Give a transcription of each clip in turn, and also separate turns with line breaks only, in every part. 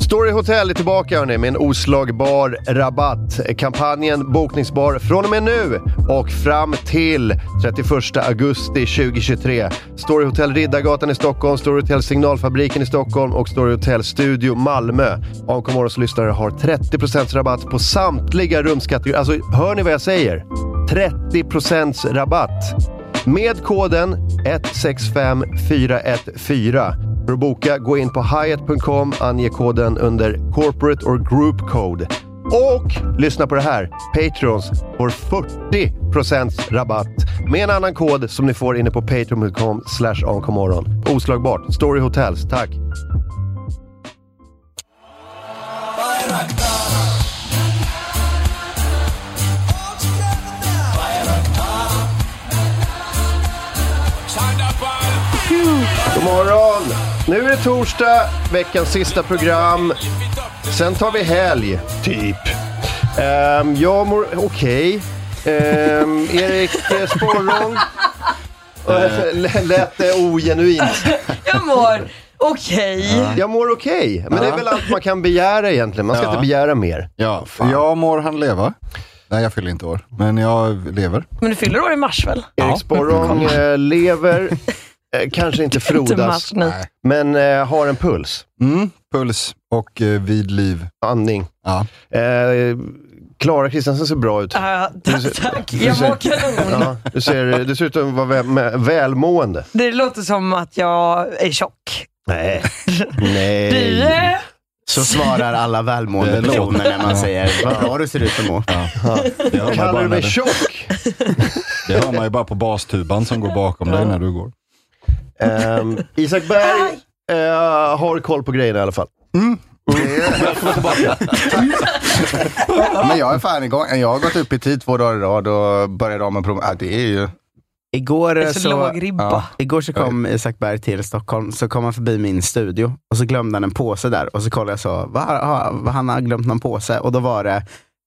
Story Hotel är tillbaka hörni, med en oslagbar rabatt. Kampanjen bokningsbar från och med nu och fram till 31 augusti 2023. Story Hotel Riddargatan i Stockholm, Story Hotel Signalfabriken i Stockholm och Story Hotel Studio Malmö. AMK Morgons lyssnare har 30% rabatt på samtliga rumskategorier. Alltså, hör ni vad jag säger? 30% rabatt! Med koden 165414. För att boka, gå in på hyatt.com, ange koden under corporate or group code. Och lyssna på det här! Patrons får 40% rabatt med en annan kod som ni får inne på patreon.com slash onkomorgon. Oslagbart! Story Hotels, tack! God morgon! Nu är det torsdag, veckans sista program. Sen tar vi helg, typ. Ehm, jag mår okej. Ehm, Erik eh, Sporrong eh, lät det ogenuint.
Jag mår okej.
Jag mår okej, men det är väl allt man kan begära egentligen. Man ska
Ja.
inte begära mer.
Ja, jag mår han leva. Nej, jag fyller inte år, men jag lever.
Men du fyller år i mars väl?
Erik Sporrong eh, lever, eh, kanske inte
Inte
frodas,
mars, nej.
men eh, har en puls.
Mm, puls och eh, vid liv.
Andning.
Ja.
Eh, Klara Kristiansen ser bra ut.
Ah, Ja, tack, tack. Jag
ser-
mår kanon.
Ja, du ser du ser ut att vara väl, välmående.
Det låter som att jag är tjock.
Nej.
Du,
Nej.
eh,
Så svarar alla välmående
Det låter-
personer när man
Ja.
säger vad bra du ser ut att må.
Det hör, man
Kallar
bara
du
när
mig
du,
tjock?
det hör man ju bara på bastuban som går bakom dig när du går.
Ehm, Isak Berg eh, har koll på grejerna i alla fall.
Men
Men jag är fan igång. Jag har gått upp i tid två dagar i rad och börjat om en promenad. Ja, det är ju...
det
Igår
är så, låg ribba.
ja, igår så kom Isak Berg till Stockholm, så kom han förbi min studio och så glömde han en påse där och så kollade jag så, vad har- vad han har glömt någon påse och då var det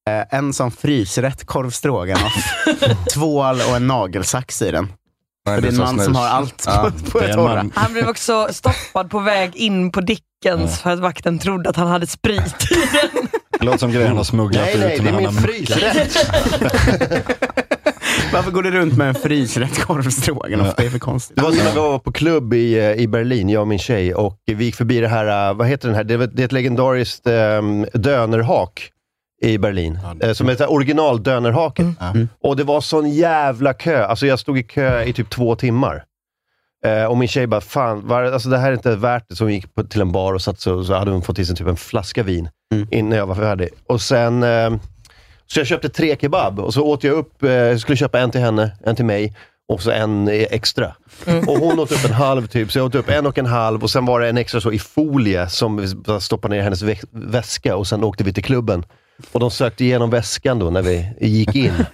eh, en sån frysrätt korv stroganoff, tvål och en nagelsax i den.
Nej,
För det är en
så
man
snus.
som har allt
Ja,
på, på
det är
ett
en
hålla.
man.
Han blev också stoppad på väg in på Dickens för att vakten trodde att han hade sprit i den.
Det låter som grejen har smugglat
Nej,
ut
nej, det
när
är
han
min
har
frysrätt.
Varför går du runt med en frysrätt korv stroganoff? Det är för konstigt.
Det var som när vi var på klubb i, eh, i Berlin, jag och min tjej, och vi gick förbi det här, eh, vad heter den här, det, är- det är ett legendariskt um, dönerhak i Berlin.
Ja, det-
eh, Som heter originaldönerhake.
Mm.
Och det var sån jävla kö. Alltså jag stod i kö i typ två timmar. Eh, och min tjej bara, fan, var, alltså det här är inte värt det. Så hon gick på, till en bar och satt så, så hade hon fått i sig typ en flaska vin
Mm.
innan jag var färdig. Och sen... ehm, så jag köpte tre kebab och så åt jag upp, eh, jag skulle köpa en till henne, en till mig och så en eh, extra. Och hon åt upp en halv typ, så jag åt upp en och en halv och sen var det en extra så i folie som vi bara stoppade ner i hennes vä- väska och sen åkte vi till klubben. Och de sökte igenom väskan då när vi gick in.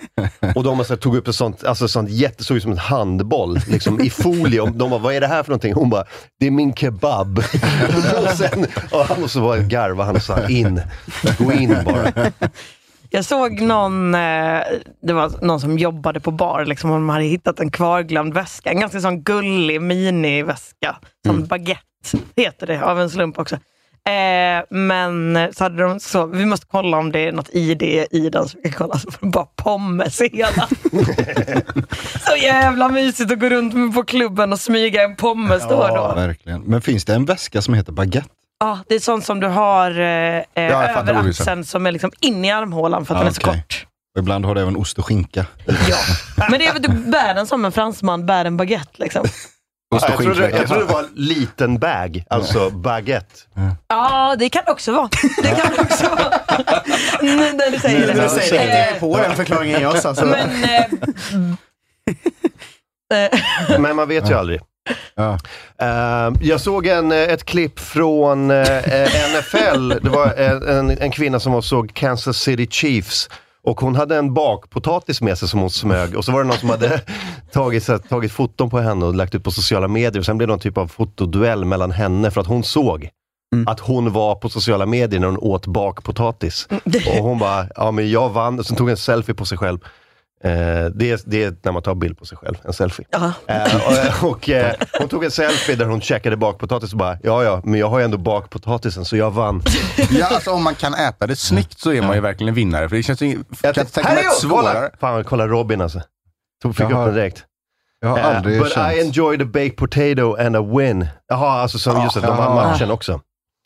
Och de så här, tog upp ett sånt, alltså sånt jätte, såg ut som en handboll, liksom i folie. Och de bara, vad är det här för någonting? Hon bara, det är min kebab. och sen, och han måste vara garva, han sa in. Gå in bara.
Jag såg någon, eh, det var någon som jobbade på bar, liksom, hon hade hittat en kvarglömd väska. En ganska sån gullig miniväska, som
Mm.
baguette heter det av en slump också. Eh, men så hade de så, vi måste kolla om det är något ID i den, så vi kan kolla. Så var det bara pommes i hela. så jävla mysigt att gå runt på klubben och smyga en pommes då och då.
Verkligen. Men finns det en väska som heter baguette?
Ja, det är sånt som du har eh,
jag fattar
över
vad du sa.
axeln som är liksom inne i armhålan för att
Ja,
den är så
okej.
kort.
Och ibland har det även ost och skinka.
Men det är väl du bär den som en fransman bär en baguette liksom.
Ost och
jag, trodde, jag trodde det
skinka.
var liten bag, alltså baguette.
Ja, det kan det också vara. Det kan det också vara. Nu när du säger
Nu när
det.
du säger det.
Eh,
är på den förklaringen jag sa. Så
Men, eh, eh,
Men man vet ju aldrig.
Ja.
Eh, jag såg en, eh, ett klipp från eh, eh, NFL. Det var eh, en, en kvinna som var och såg Kansas City Chiefs. Och hon hade en bakpotatis med sig som hon smög. Och så var det någon som hade tagit, så här, tagit foton på henne och lagt ut på sociala medier. Och sen blev det någon typ av fotoduell mellan henne för att hon såg att hon var på sociala medier när hon åt bakpotatis. Och hon bara, ja men jag vann. Och sen tog en selfie på sig själv. Eh, det, är, det är när man tar bild på sig själv, en selfie.
ja.
Eh, och, och, eh, hon tog en selfie där hon käkade bakpotatis och bara, ja ja, men jag har ju ändå bakpotatisen så jag vann.
Ja, alltså, om man kan äta det snyggt så är man ju verkligen en vinnare. För det känns ju... Jag kan
tänkte,
tänka mig ett
kolla!
svårare...
Fan, kolla Robin alltså. Tog, fick
Jaha.
upp den direkt.
Jag har
Eh,
aldrig
But
känt...
I enjoyed a baked potato and a win. Jaha, alltså som just det, de
Ah.
vann
Jaha.
matchen också.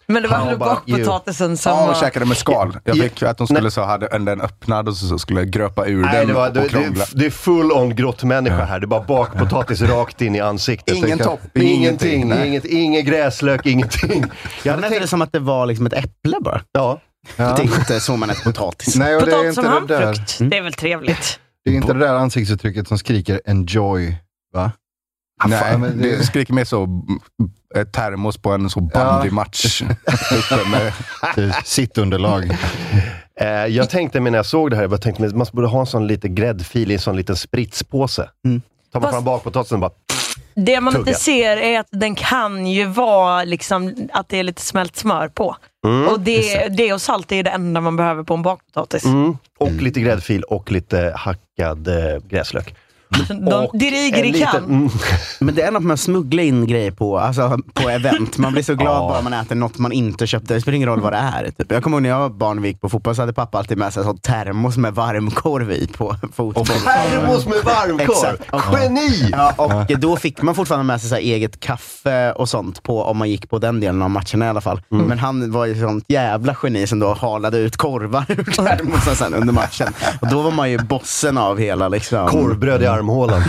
men det var
How
väl
about you?
bakpotatisen som
Ja, och
var...
käkade med skal. Jag
Ja.
fick att de skulle så hade den öppnad och så, så skulle jag gröpa ur
Nej,
den
det, var,
och
det,
krångla.
det, det är full on grottmänniska här. Det är bara bakpotatis rakt in i ansiktet.
Ingen
Det kan-
topp,
Ingenting.
ingenting, nej.
Inget, ingen gräslök, ingenting. Jag
jag
hade
tänkte det
tänkt,
som att det var liksom ett äpple bara.
ja.
Ja.
Det är inte så man äter potatis.
Nej, och det är
Potatis
inte
som
det där.
handfrukt.
Mm.
Det är väl trevligt.
Det är inte det där ansiktsuttrycket som skriker enjoy, va?
Ah,
Nej,
fan,
men
det...
det-
skriker mer så mm, eh, termos på en så bandymatch. Uppe med-
Sitt underlag.
Eh, jag tänkte mig när jag såg det här, jag bara tänkte att man borde ha en sån lite gräddfil i en sån liten spritspåse.
Mm.
Tar man
Fast-
fram bakpotatisen och bara...
Det man inte
Tugga.
ser är att den kan ju vara liksom, att det är lite smält smör på.
Mm.
och det, det och salt är ju det enda man behöver på en bakpotatis.
Mm, och lite gräddfil och lite hackad eh, gräslök.
De,
Och en
dirigeri
liten-
kan.
Mm,
Men det är något med att smuggla in grejer på, alltså, på event. Man blir så glad
Ja.
bara man äter något man inte köpte. Det spelar ingen roll vad det är. Typ. Jag kommer ihåg när jag var barn och gick på fotboll så hade pappa alltid med sig en sån termos med varmkorv i på fotboll.
Termos med varmkorv!
Exakt. Ja.
Geni!
Ja, och då fick man fortfarande med sig så här eget kaffe och sånt på, om man gick på den delen av matcherna i alla fall. Men han var ju sånt jävla geni som då halade ut korvar ur termosen sen under matchen. Och då var man ju bossen av hela liksom.
Korvbröd i armhålan.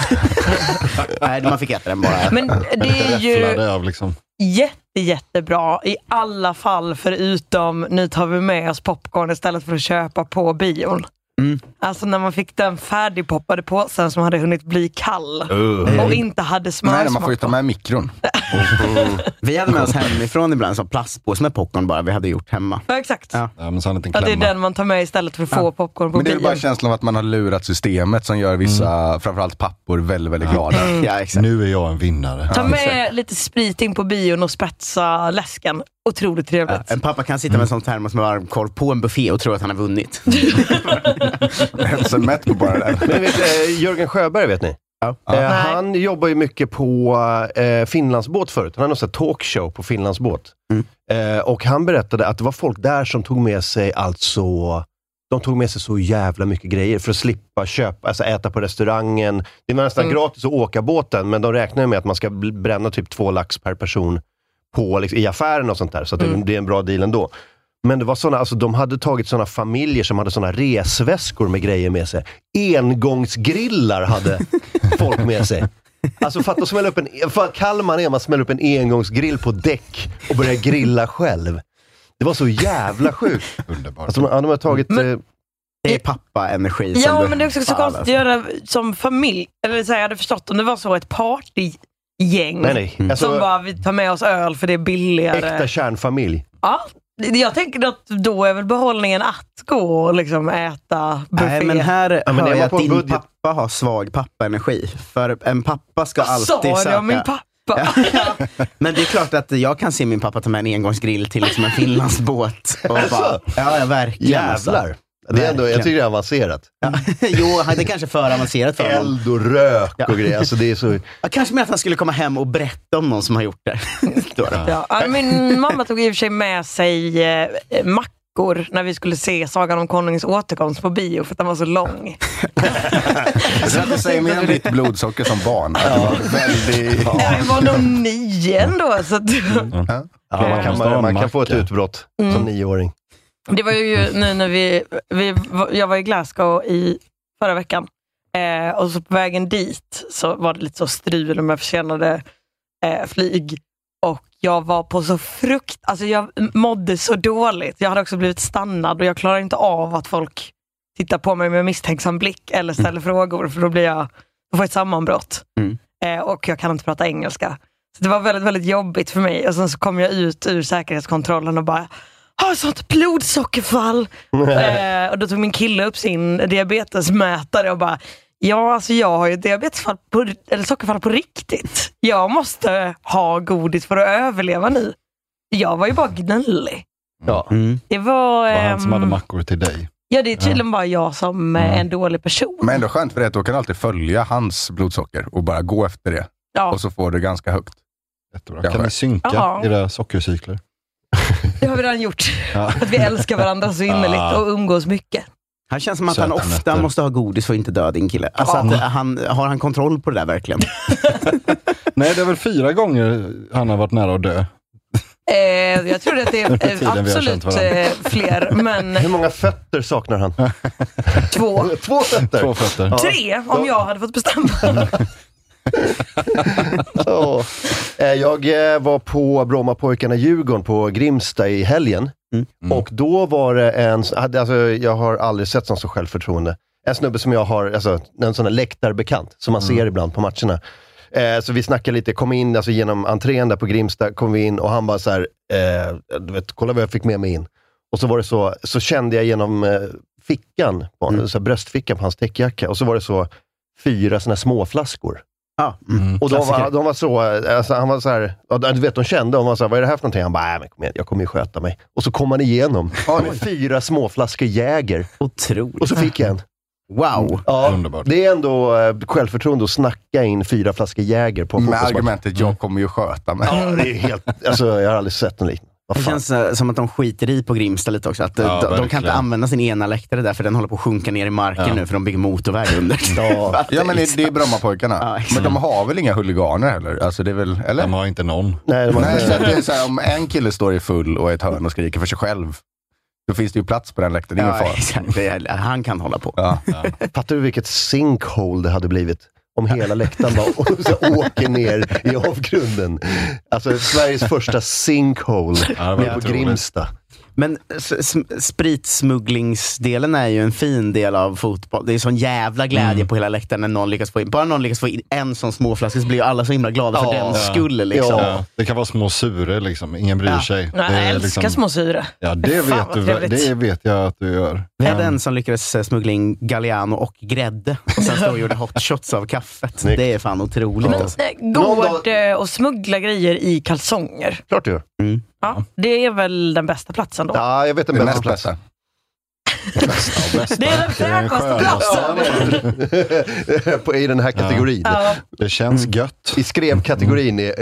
Nej, man fick äta den bara.
Men det är ju
Räfflade av liksom.
jätte, jättebra i alla fall förutom nu tar vi med oss popcorn istället för att köpa på bion.
Mm.
Alltså när man fick den färdigpoppade påsen som hade hunnit bli kall och inte hade
Nej, man får ju
smörsmak.
ta med mikron.
Vi hade med oss hemifrån ibland en plastpåse med popcorn bara vi hade gjort hemma.
Ja, exakt.
Ja.
Ja, men så har han inte en
Ja, det är
klämma.
den man tar med istället för att få popcorn på
Men det är
bion.
väl bara känslan av att man har lurat systemet som gör vissa, framförallt pappor, väldigt, väldigt glada.
Mm. Ja, exakt.
Nu är jag en vinnare.
Mm. Ta med lite sprit in på bion och spetsa läsken. Otroligt trevligt.
En pappa kan sitta med en sån termos med varmkorv på en buffé och tro att han har vunnit.
Jag är så mätt på bara det där.
Men vet, eh, Jörgen Sjöberg vet ni?
Ja.
Eh,
Nej.
han jobbar ju mycket på eh, Finlandsbåt förut. Han hade någon sån här talkshow på Finlandsbåt. Eh, och han berättade att det var folk där som tog med sig alltså de tog med sig så jävla mycket grejer för att slippa köpa, alltså äta på restaurangen. Det var nästan gratis att åka båten, men de räknar ju med att man ska bl- bränna typ två lax per person på, liksom, i affären och sånt där, så att det, det är en bra deal ändå. Men det var såna, alltså, de hade tagit såna familjer som hade såna resväskor med grejer med sig. Engångsgrillar hade folk med sig. Alltså fatta att smälla upp en, fan, kall man är, man smäller upp en engångsgrill på däck och börjar grilla själv. Det var så jävla sjukt.
Underbart.
Alltså, de, ja, de har tagit... eh,
Det är pappa-energi. som
Ja,
du-
men det är också så
Fan,
konstigt att
alltså.
göra som familj. Eller så här, jag hade förstått om det var så ett partygäng
nej, nej.
Mm.
Alltså,
som bara, vi tar med oss öl för det är
äkta
billigare.
kärnfamilj.
Ja, jag tänker att då är väl behållningen att gå och liksom äta buffé.
Nej, men här
men
hör
är man
jag att
på
din
budget-
pappa har svag pappa-energi. För en pappa ska
Vad sa
alltid
du
söka...
om min pappa?
Men det är klart att jag kan se min pappa ta med en engångsgrill till liksom en finlandsbåt. Och bara, ja, ja, verkligen. alltså.
Alltså, Jävlar. Det är ändå, jag tycker det är avancerat.
jo, det är kanske för avancerat för honom.
Eld och rök och grejer. Alltså, det är så...
Ja, Kanske med att han skulle komma hem och berätta om någon som har gjort det. Då då.
Ja, ja, min mamma tog i och för sig med sig eh, mackor när vi skulle se Sagan om konungens återkomst på bio för att den var så lång.
Så att det säger mer om ditt blodsocker som barn. Att det var väldigt...
Nej, Jag var nog nio ändå. Så att,
Ja, man, kan, man, man kan få ett utbrott som nioåring.
Det var ju nu när vi, vi jag var i Glasgow i förra veckan eh, och så på vägen dit så var det lite så strul med försenade eh, flyg och jag var på så frukt, alltså jag mådde så dåligt. Jag hade också blivit stannad och jag klarar inte av att folk tittar på mig med misstänksam blick eller ställer frågor för då blir jag, då får jag ett sammanbrott.
Mm.
Eh, och jag kan inte prata engelska. Så det var väldigt, väldigt jobbigt för mig. Och sen så kom jag ut ur säkerhetskontrollen och bara, har sånt blodsockerfall. eh, och då tog min kille upp sin diabetesmätare och bara, ja alltså jag har ju diabetesfall på, eller sockerfall på riktigt. Jag måste ha godis för att överleva nu. Jag var ju bara gnällig.
Ja.
Mm.
Det var,
Det var han som hade Mm.
ehm,
mackor till dig.
ja det är tydligen bara jag som eh, är en dålig person.
Men ändå skönt för det är att då kan du alltid följa hans blodsocker och bara gå efter det.
ja.
Och så får du ganska högt.
Jättebra.
Ja,
Kan ni
ja.
synka
Jaha.
era sockercykler?
Det har vi redan gjort.
Ja.
Att vi älskar varandra så innerligt och umgås mycket.
Han känns som att
Söta
han ofta
nötter.
måste ha godis för att inte döda din kille. Alltså att eh, han, har han kontroll på det där verkligen?
Nej, det är väl fyra gånger han har varit nära att dö.
Eh, jag tror att det
Under
är
tiden vi
eh,
har
absolut
känt varandra.
eh, fler, men
Hur många fötter saknar han?
två.
Två fötter?
Två fötter.
Tre, om jag hade fått bestämma.
Ja. Eh, Jag eh, var på Brommapojkarna Djurgården på Grimsta i helgen. Och då var det en, alltså, jag har aldrig sett sån så självförtroende. En snubbe som jag har, alltså, en sån där läktarbekant, som man ser ibland på matcherna. Eh, så vi snackade lite, kom in alltså, genom entrén där på Grimsta, kom vi in och han bara så här, eh, du vet, kolla vad jag fick med mig in. Och så var det så, så kände jag genom eh, fickan, på honom, så här, bröstfickan på hans täckjacka, och så var det så fyra såna här småflaskor.
Ja. Mm.
Och de var,
Klassiker.
de var så, alltså, han var så här, ja, du vet de kände, de var så här, vad är det här för någonting? Han bara, "Nej, men kom igen, jag kommer ju sköta mig. Och så kom han igenom med fyra småflaskor Jäger. Och
Otroligt.
så fick jag en.
Wow.
Ja,
Underbart.
det är ändå eh, självförtroende att snacka in fyra flaskor Jäger på en
Med
fotbollsmatch.
argumentet,
Mm.
jag kommer ju sköta mig.
Ja, det är helt, alltså, jag har aldrig sett en liknande. Vad
Det
fan?
känns eh, som att de skiter i på Grimsta lite också. Att eh,
Ja,
de, de kan
verkligen.
inte använda sin ena läktare där för den håller på att sjunka ner i marken nu för de bygger motorväg under.
Ja.
Ja, men det, det är Brommapojkarna.
Ja, exakt.
men de har väl inga huliganer heller? Alltså, det är väl, eller?
De har inte någon.
Nej, det var
Nej, så att
inte...
det är så här, om en kille står i full och är i ett hörn och skriker för sig själv, då finns det ju plats på den läktaren. Det är ingen
Ja,
fara.
exakt. Det är, han kan hålla på.
Ja.
Fattar du vilket sinkhole det hade blivit? Om hela läktaren bara och så åker ner i avgrunden. Alltså Sveriges första sinkhole.
Ja, det var
nere på
otroligt.
Grimsta.
Men s- sm- spritsmugglingsdelen är ju en fin del av fotboll. Det är sån jävla glädje
Mm.
på hela läktaren när någon lyckas få in, bara någon lyckas få in en sån småflaska så blir ju alla så himla glada för
Ja.
den skull. Liksom.
Ja.
Ja, det kan vara små sure, liksom. ingen bryr
Ja.
sig.
Nej,
det
jag
är
älskar
liksom-
små syre.
Ja, det
Fan,
vet,
vad
du,
trevligt.
det vet jag att du gör.
Vi hade
Mm.
en som lyckades eh, smuggla in Galliano och grädde och sen stod och gjorde hot shots av kaffet.
Snyggt.
Det är fan otroligt.
Men
alltså.
eh, går det att smuggla grejer i kalsonger?
Klart du gör.
Ja, det är väl den bästa platsen då?
Ja, jag vet
Det
den
är
bästa
näst
platsen.
bästa.
Det är den fräschaste platsen.
På- I den här kategorin.
Ja.
Det känns gött.
I skrevkategorin i,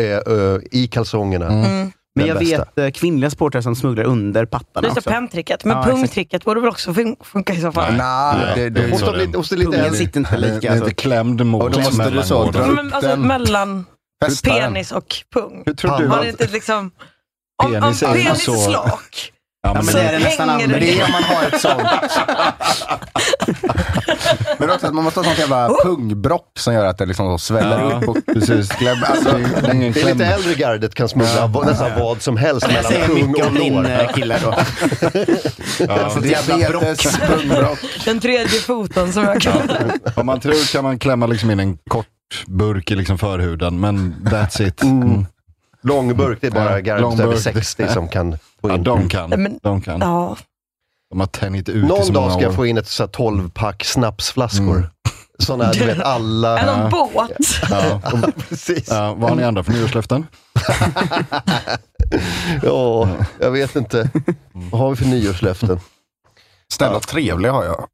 i kalsongerna.
Men
Den
jag
bästa.
vet eh, kvinnliga sportare som smugglar under pattarna
Just det,
också.
penntricket. Men
Ja, exakt.
pungtricket borde väl också fun- funka i så fall?
Nej, det, det,
är
Hos
så
de
det-
lite, hos de lite
Pungen
äldre.
sitter inte
Den
lika.
är
Alltså.
inte klämd mot
Och då måste du så
mellangården.
dra-
Men, alltså,
Den-
mellan
Fästa den.
penis och pung.
Hur tror du
Har det
att...
inte liksom... Om, om
Penis är ju
penis
så-
är slak,
Ja,
men
men
så
det är det
det,
nästan
hänger
aldrig.
Men det är om
det.
man har ett sånt. Men också att man måste ha sånt jävla
Oh!
pungbrock som gör att det liksom sväller
Ja.
upp. Och precis, kläm, alltså,
det är ingen
Det lite
kläm.
äldre gardet kan smuggla va- nästan vad som helst
Jag
mellan
säger
pung
alltså. mycket
och
om din
lår.
eh, kille då.
Alltså, diabetes, pungbrock.
Den tredje foten som jag kan...
Om man tror kan man klämma liksom in en kort burk i liksom förhuden, men that's it. Mm.
Långburk, det är bara
Ja,
gardet över
långburk.
60 som kan få
Ja,
Mm.
in.
de kan.
Men-
De kan.
Ja.
De har tänjt ut i så
Någon
många
dag ska jag
år.
få in ett så här 12-pack snapsflaskor.
Mm.
Såna, du vet alla...
Eller en båt.
Ja, och,
Precis.
ja, vad har ni andra för nyårslöften?
Ja, jag vet inte. Vad har vi för nyårslöften?
Snäll och trevlig har jag.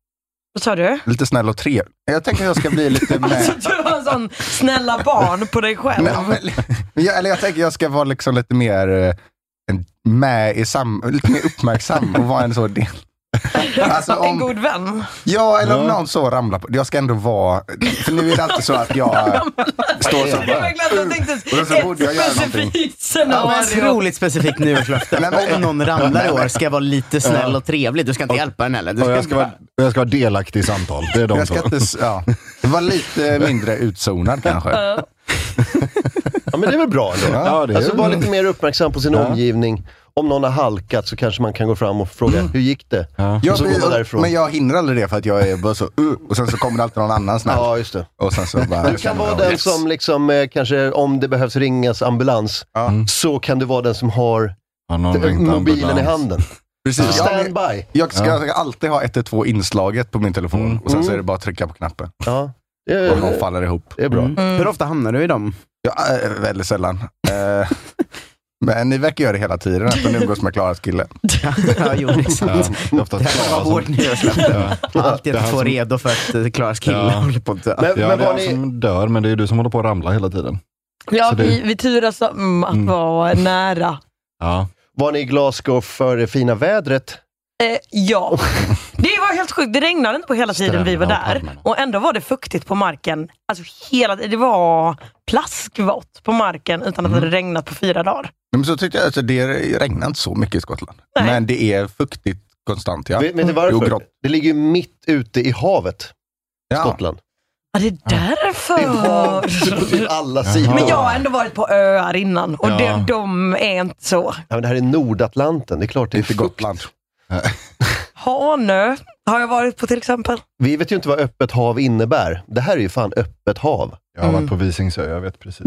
Vad sa du?
Lite snäll och trevlig. Jag tänker att jag ska bli lite
Så
mer...
du har en sån snälla barn på dig själv. Liksom,
Nej, men- men jag, eller jag tänker jag ska vara liksom lite mer eh, en- med i sam, lite mer uppmärksam och vara en så del, Alltså,
En god vän.
Ja, eller om
Ja.
någon så ramlar på. Jag ska ändå vara... För nu är det alltid så att jag står så
Det var
bara...
verkligen att jag
Och så
tänkte
borde jag
ett
göra
specifikt
Ja,
scenario.
otroligt specifikt nyårslöfte.
Nej, men-
Om någon ramlar i år ska jag vara lite snäll och trevlig. Du ska inte hjälpa den heller. Du
Och jag, ska vara,
bara-
och jag ska vara delaktig i samtal. Det är de
Jag ska
två.
inte... s- Ja. Var lite mindre utzonad kanske.
Ja, men det är väl bra ändå?
Ja, det är
alltså,
väl-
var lite mer uppmärksam på sin omgivning. Om någon har halkat så kanske man kan gå fram och fråga, hur gick det?
Jag
Och så går man därifrån.
Mm. men jag hinner aldrig det för att jag är bara så... Uh, och sen så kommer det alltid någon annan snäll.
Ja, just det.
Och sen så bara...
Du kan vara den som liksom, eh, kanske om det behövs ringas ambulans, Mm.
Ja.
så kan du vara den som har
Har någon
eh,
ringt
mobilen i
ambulans?
handen.
Precis. Ja, men-
Standby.
Jag ska alltid ha 112 inslaget på min telefon
Mm.
och sen så är det bara att trycka på knappen.
Ja, det är,
Och man faller ihop. Mm.
det är bra.
Hur ofta hamnar du i dem?
Ja, eh, väldigt sällan. Eh, Men ni verkar göra det hela tiden, att man umgås med Klaras kille.
ja, jo, det är
Ja,
sant.
det är ofta
Det här
Klara
var
som-
vårt nyårslöfte.
Ja.
Alltid
Det
att
här
få
som-
redo för att eh, Klaras kille
Ja.
håller på att dö.
Men,
Ja,
men
det
var
är jag
ni...
som dör, men det är ju du som håller på att ramla hela tiden.
Ja,
Så det-
vi, vi turas om att
Mm.
vara nära.
Ja.
Var ni i Glasgow för det fina vädret?
Eh, ja. Det var helt sjukt. Det regnade inte på hela tiden vi var
Stränderna och
där.
palmerna.
Och ändå var det fuktigt på marken. Alltså hela Det var plaskvått på marken utan att det hade regnat på fyra dagar.
Men så tyckte jag, alltså, det regnar inte så mycket i Skottland.
Nej.
Men det är fuktigt konstant. Ja.
Vet, vet ni
Jo,
varför?
grått.
det ligger ju mitt ute i havet,
Ja.
Skottland.
Ja, det är
Det är Typ hav
därför.
på typ alla
Jaha.
sidor.
Men jag har ändå varit på öar innan och
Ja.
de, de är inte så.
Ja, men det här är Nordatlanten, det är klart det är
Inte
fukt.
Gotland.
Hanö har jag varit på till exempel.
Vi vet ju inte vad öppet hav innebär. Det här är ju fan öppet hav.
Jag har varit på Visingsö, jag vet precis.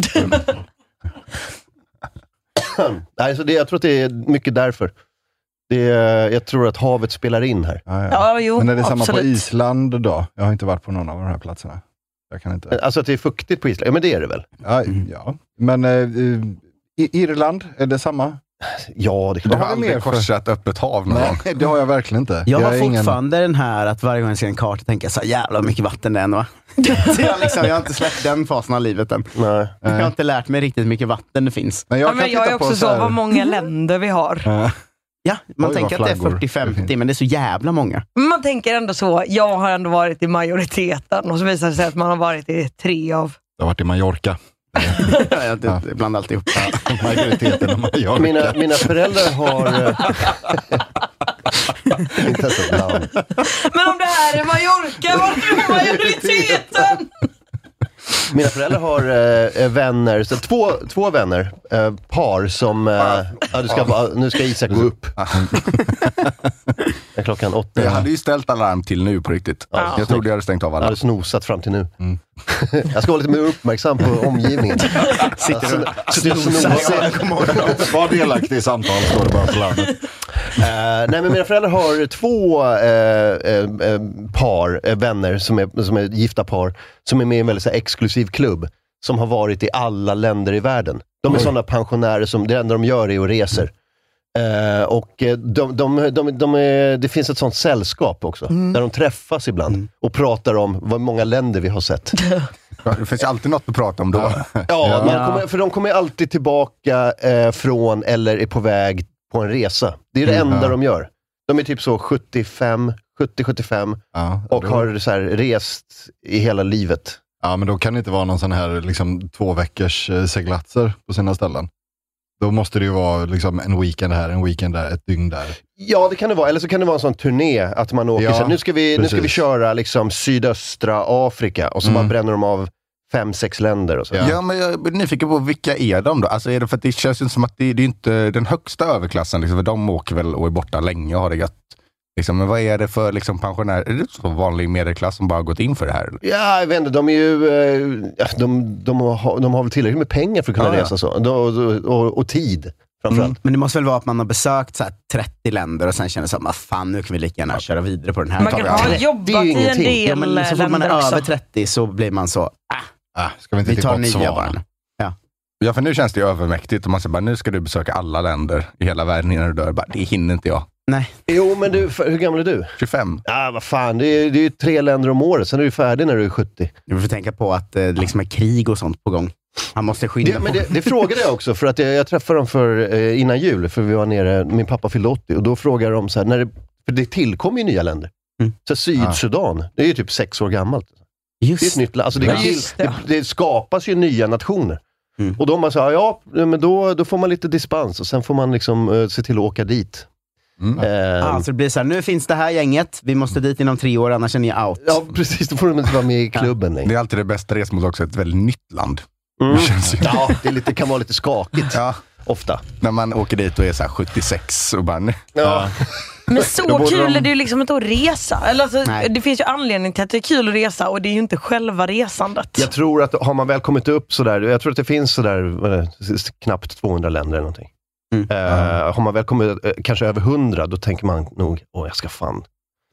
Nej, så det, jag tror att det är mycket därför. Det är, jag tror att havet spelar in här.
Ja, ja.
Ja, jo,
Men är det samma på
absolut.
Island då? Jag har inte varit på någon av de här platserna. Jag kan inte.
Alltså att det är fuktigt på Island. Ja, men det är det väl?
Ja, ja. Men eh, eh, I- Irland, är det samma?
Ja, det är
Du
klart.
har
har mer
aldrig
för-
korsat öppet hav någon gång.
Nej, det har jag verkligen inte.
Jag har
är ingen-
fortfarande den här att varje gång jag ser en karta tänker jag så här, jävlar vad mycket vatten det är ändå, va? Så jag, liksom, jag har inte släppt den fasen av livet än.
Nej.
Jag har inte lärt mig riktigt hur mycket vatten det finns.
Men
Jag,
jag,
ja, men
kan
jag
titta
är
på
också så,
här-
vad många länder vi har.
Ja.
Ja, man
Oj,
tänker
vad
att det är
flaggor. Det
40-50,
finns.
men det är så jävla många.
Men Man tänker ändå så, jag har ändå varit i majoriteten och så visar det sig att man har varit i tre av...
Jag har varit i Mallorca.
Jag
Ja.
blandar alltid ihop.
Majoriteten av Mallorca.
Mina, mina föräldrar har... eh, Inte ens ett namn.
Men om det här är Mallorca, varför är majoriteten?
Mina föräldrar har eh, eh, vänner, så två, två vänner, eh, par som... Eh, ja, du ska, bara- nu ska Isak gå upp. Det är klockan åtta.
Jag hade ju ställt alarm till nu på riktigt. Jag trodde jag hade stängt av
Jag hade
alla.
snosat fram till nu. jag ska vara lite mer uppmärksam på omgivningen. Sitter du
Var delaktig i samtal, står det bara på larmet.
Eh, nej, men mina föräldrar har två eh, eh, eh, par, eh, vänner, som är, som är gifta par, som är med i en väldigt så här, exklusiv klubb, som har varit i alla länder i världen. De är sådana pensionärer som, det enda de gör är att reser. Eh, och eh, de, de, de, de är, det finns ett sånt sällskap också, där de träffas ibland och pratar om vad många länder vi har sett.
Det finns ju alltid något att prata om då.
Ja,
Ja.
Man kommer, för de kommer ju alltid tillbaka eh, från eller är på väg på en resa. Det är det
Mm,
enda
ja.
de gör. De är typ så 75, 70-75
Ja,
och
då-
har så här rest i hela livet.
Ja, men då kan det inte vara någon sån här liksom, två veckors eh, seglatser på sina ställen. Då måste det ju vara liksom, en weekend här, en weekend där, ett dygn där.
Ja, det kan det vara. Eller så kan det vara en sån turné, att man åker
Ja,
så här, nu ska vi, nu ska vi
precis.
köra liksom sydöstra Afrika och så
Mm.
bara bränner de av fem, sex länder och så.
Ja.
Ja, men jag är nyfiken på vilka är de då? Alltså är det för att det känns ju inte som att det, det är inte den högsta överklassen, liksom, för de åker väl och är borta länge och har det gött. Liksom, men vad är det för liksom, pensionärer? Är det så vanlig medelklass som bara har gått in för det här? eller?
Ja, jag vet inte. De, är ju, eh, de, de, har, de har väl tillräckligt med pengar för att kunna
Ja, ja.
resa så. Och, och, och tid, framförallt.
Mm.
Mm.
Men det måste väl vara att man har besökt så här 30 länder och sen känner så här, "Vad fan nu kan vi lika gärna köra vidare på den här.
Man kan
Ja,
ha
Det är
jobbat
ju
i en
ingenting.
del
ja, men liksom så fort man är
länder också.
över 30 så blir man så,
Ah, ska vi inte
vi
till
tar
Botswana?
nya barn.
Ja, för nu känns det ju övermäktigt. Och man säger bara, nu ska du besöka alla länder i hela världen innan du dör. Bara, det hinner inte jag.
Nej,
Jo, men du, f- hur gammal är du?
25.
Ja, vad fan. Det är, det är ju tre länder om året, sen är du färdig när du är 70.
du får tänka på att det liksom är krig och sånt på gång. Han måste skynda
Det,
på.
men det, det frågade jag också, för att jag, jag träffade dem för, eh, innan jul, för vi var nere, min pappa fyllde 80, och då frågade de så här, när det För det tillkommer ju nya länder.
Mm.
Så Sydsudan, det är ju typ sex år gammalt. Det är ett
Just
nytt land. Alltså det,
Ja,
det,
just
det,
det.
det skapas ju nya nationer.
Mm.
Och de bara så här, ja, men då, då får man lite dispens och sen får man liksom eh, se till att åka dit.
Mm.
Ehm,
Ja, så Alltså, det blir så här, nu finns det här gänget, vi måste dit inom tre år annars är ni out.
Ja, precis. Då får de inte vara med i klubben längre.
Det är alltid det bästa resmålet också, ett väldigt nytt land.
Mm.
Det känns ju.
Ja, det är lite, kan vara lite skakigt
Ja,
ofta.
när man åker dit och är så här 76 och bara, nej.
Ja.
Men
Då
så
borde
kul
de-
är det ju liksom inte att resa. Eller alltså,
Nej.
det finns ju anledning till att det är kul att resa och det är ju inte själva resandet.
Jag tror att har man väl kommit upp sådär, jag tror att det finns sådär vad är det, s- knappt 200 länder eller någonting.
Mm.
Eh, Har man väl kommit eh, kanske över 100, då tänker man nog, åh jag ska fan.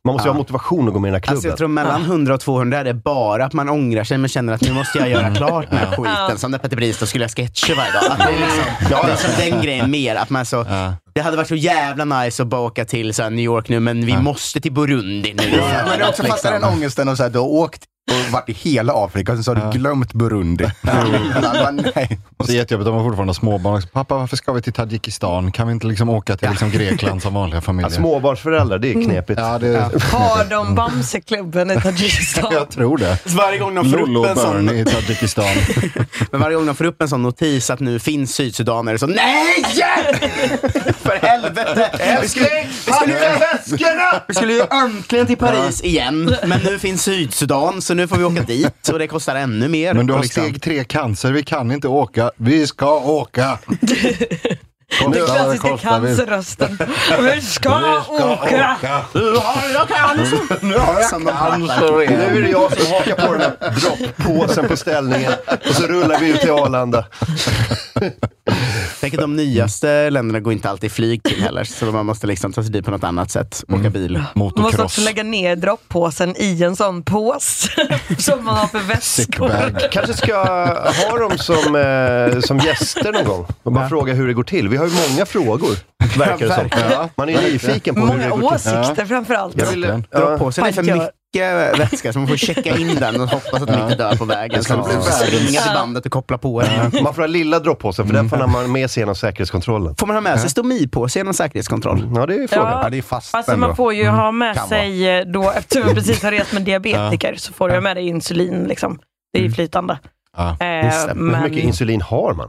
Man måste ju
Ja.
ha motivation att gå med i den här
Alltså
klubben.
jag tror mellan 100 och 200 är det bara att man ångrar sig men känner att nu måste jag göra klart den här skiten. Som när Petter Bristad skulle göra sketcher varje dag. Att det är liksom, det är som den grejen mer. Att man så, det hade varit så jävla nice att bara åka till så här, New York nu men vi måste till Burundi nu.
Men det är också fast den ångesten och så här, du har åkt och varit i hela Afrika och sen så har du glömt Burundi. Man bara, nej.
Det är jättejobbigt om man fortfarande har småbarn. också. Pappa, varför ska vi till Tadjikistan? Kan vi inte liksom åka till liksom Grekland som vanliga
Ja,
familjer?
småbarnsföräldrar,
Mm.
det är knepigt.
Ja, det är...
Har de Bamseklubben i Tadzjikistan?
Jag tror det.
Varje gång de får
Lollo
upp
och
en sån
Bernie i Tadzjikistan.
Men varje gång de får upp en sån notis att nu finns Sydsudan är det så NEJ! För helvete! Vi skulle, vi skulle ju väskorna! Vi skulle ju äntligen till Paris igen. Men nu finns Sydsudan så nu får vi åka dit och det kostar ännu mer. liksom,
Men du har
Kostar-
steg tre cancer, vi kan inte åka. Vi ska åka! Kostar
Den
vad
klassiska
kostar, vi-
cancerrösten. Vi ska åka!
Nu har jag cancer! Nu har jag cancer!
Nu är det jag som hakar på den här dropppåsen på ställningen och så rullar vi ut till Arlanda.
Tänk att de nyaste länderna går inte alltid flyg till heller. Så man måste liksom ta sig dit på något annat sätt.
Mm.
Åka bil.
Man måste också
Motocross.
lägga ner droppåsen i en sån pås som man har för väskor.
Sickbag.
Kanske ska ha dem som, eh, som gäster någon gång och bara fråga hur det går till. Vi har ju många frågor, verkar det som.
Ja.
Man är ju nyfiken på hur det
Många
går till.
åsikter framförallt.
Jag vill,
Dra
ja,
på sig det är för
Fan, jag-
mycket vätska så man får checka in den och hoppas att man inte dör på vägen. Så
skulle
man
bli
får
världens-
springa till bandet och koppla på den.
man får ha lilla droppåsen, för den får man med sig genom säkerhetskontrollen.
Får man ha med sig stomipåse genom säkerhetskontroll?
Ja, det är ju frågan.
Ja, det är fast
Alltså
ändå.
man får
Mm,
ju ha med
Kan
sig eh, då, eftersom jag precis har rest med diabetiker, så får du ha med dig insulin. Liksom. Det är ju flytande.
Ja.
Eh,
Just det.
Hur mycket
men
insulin har man?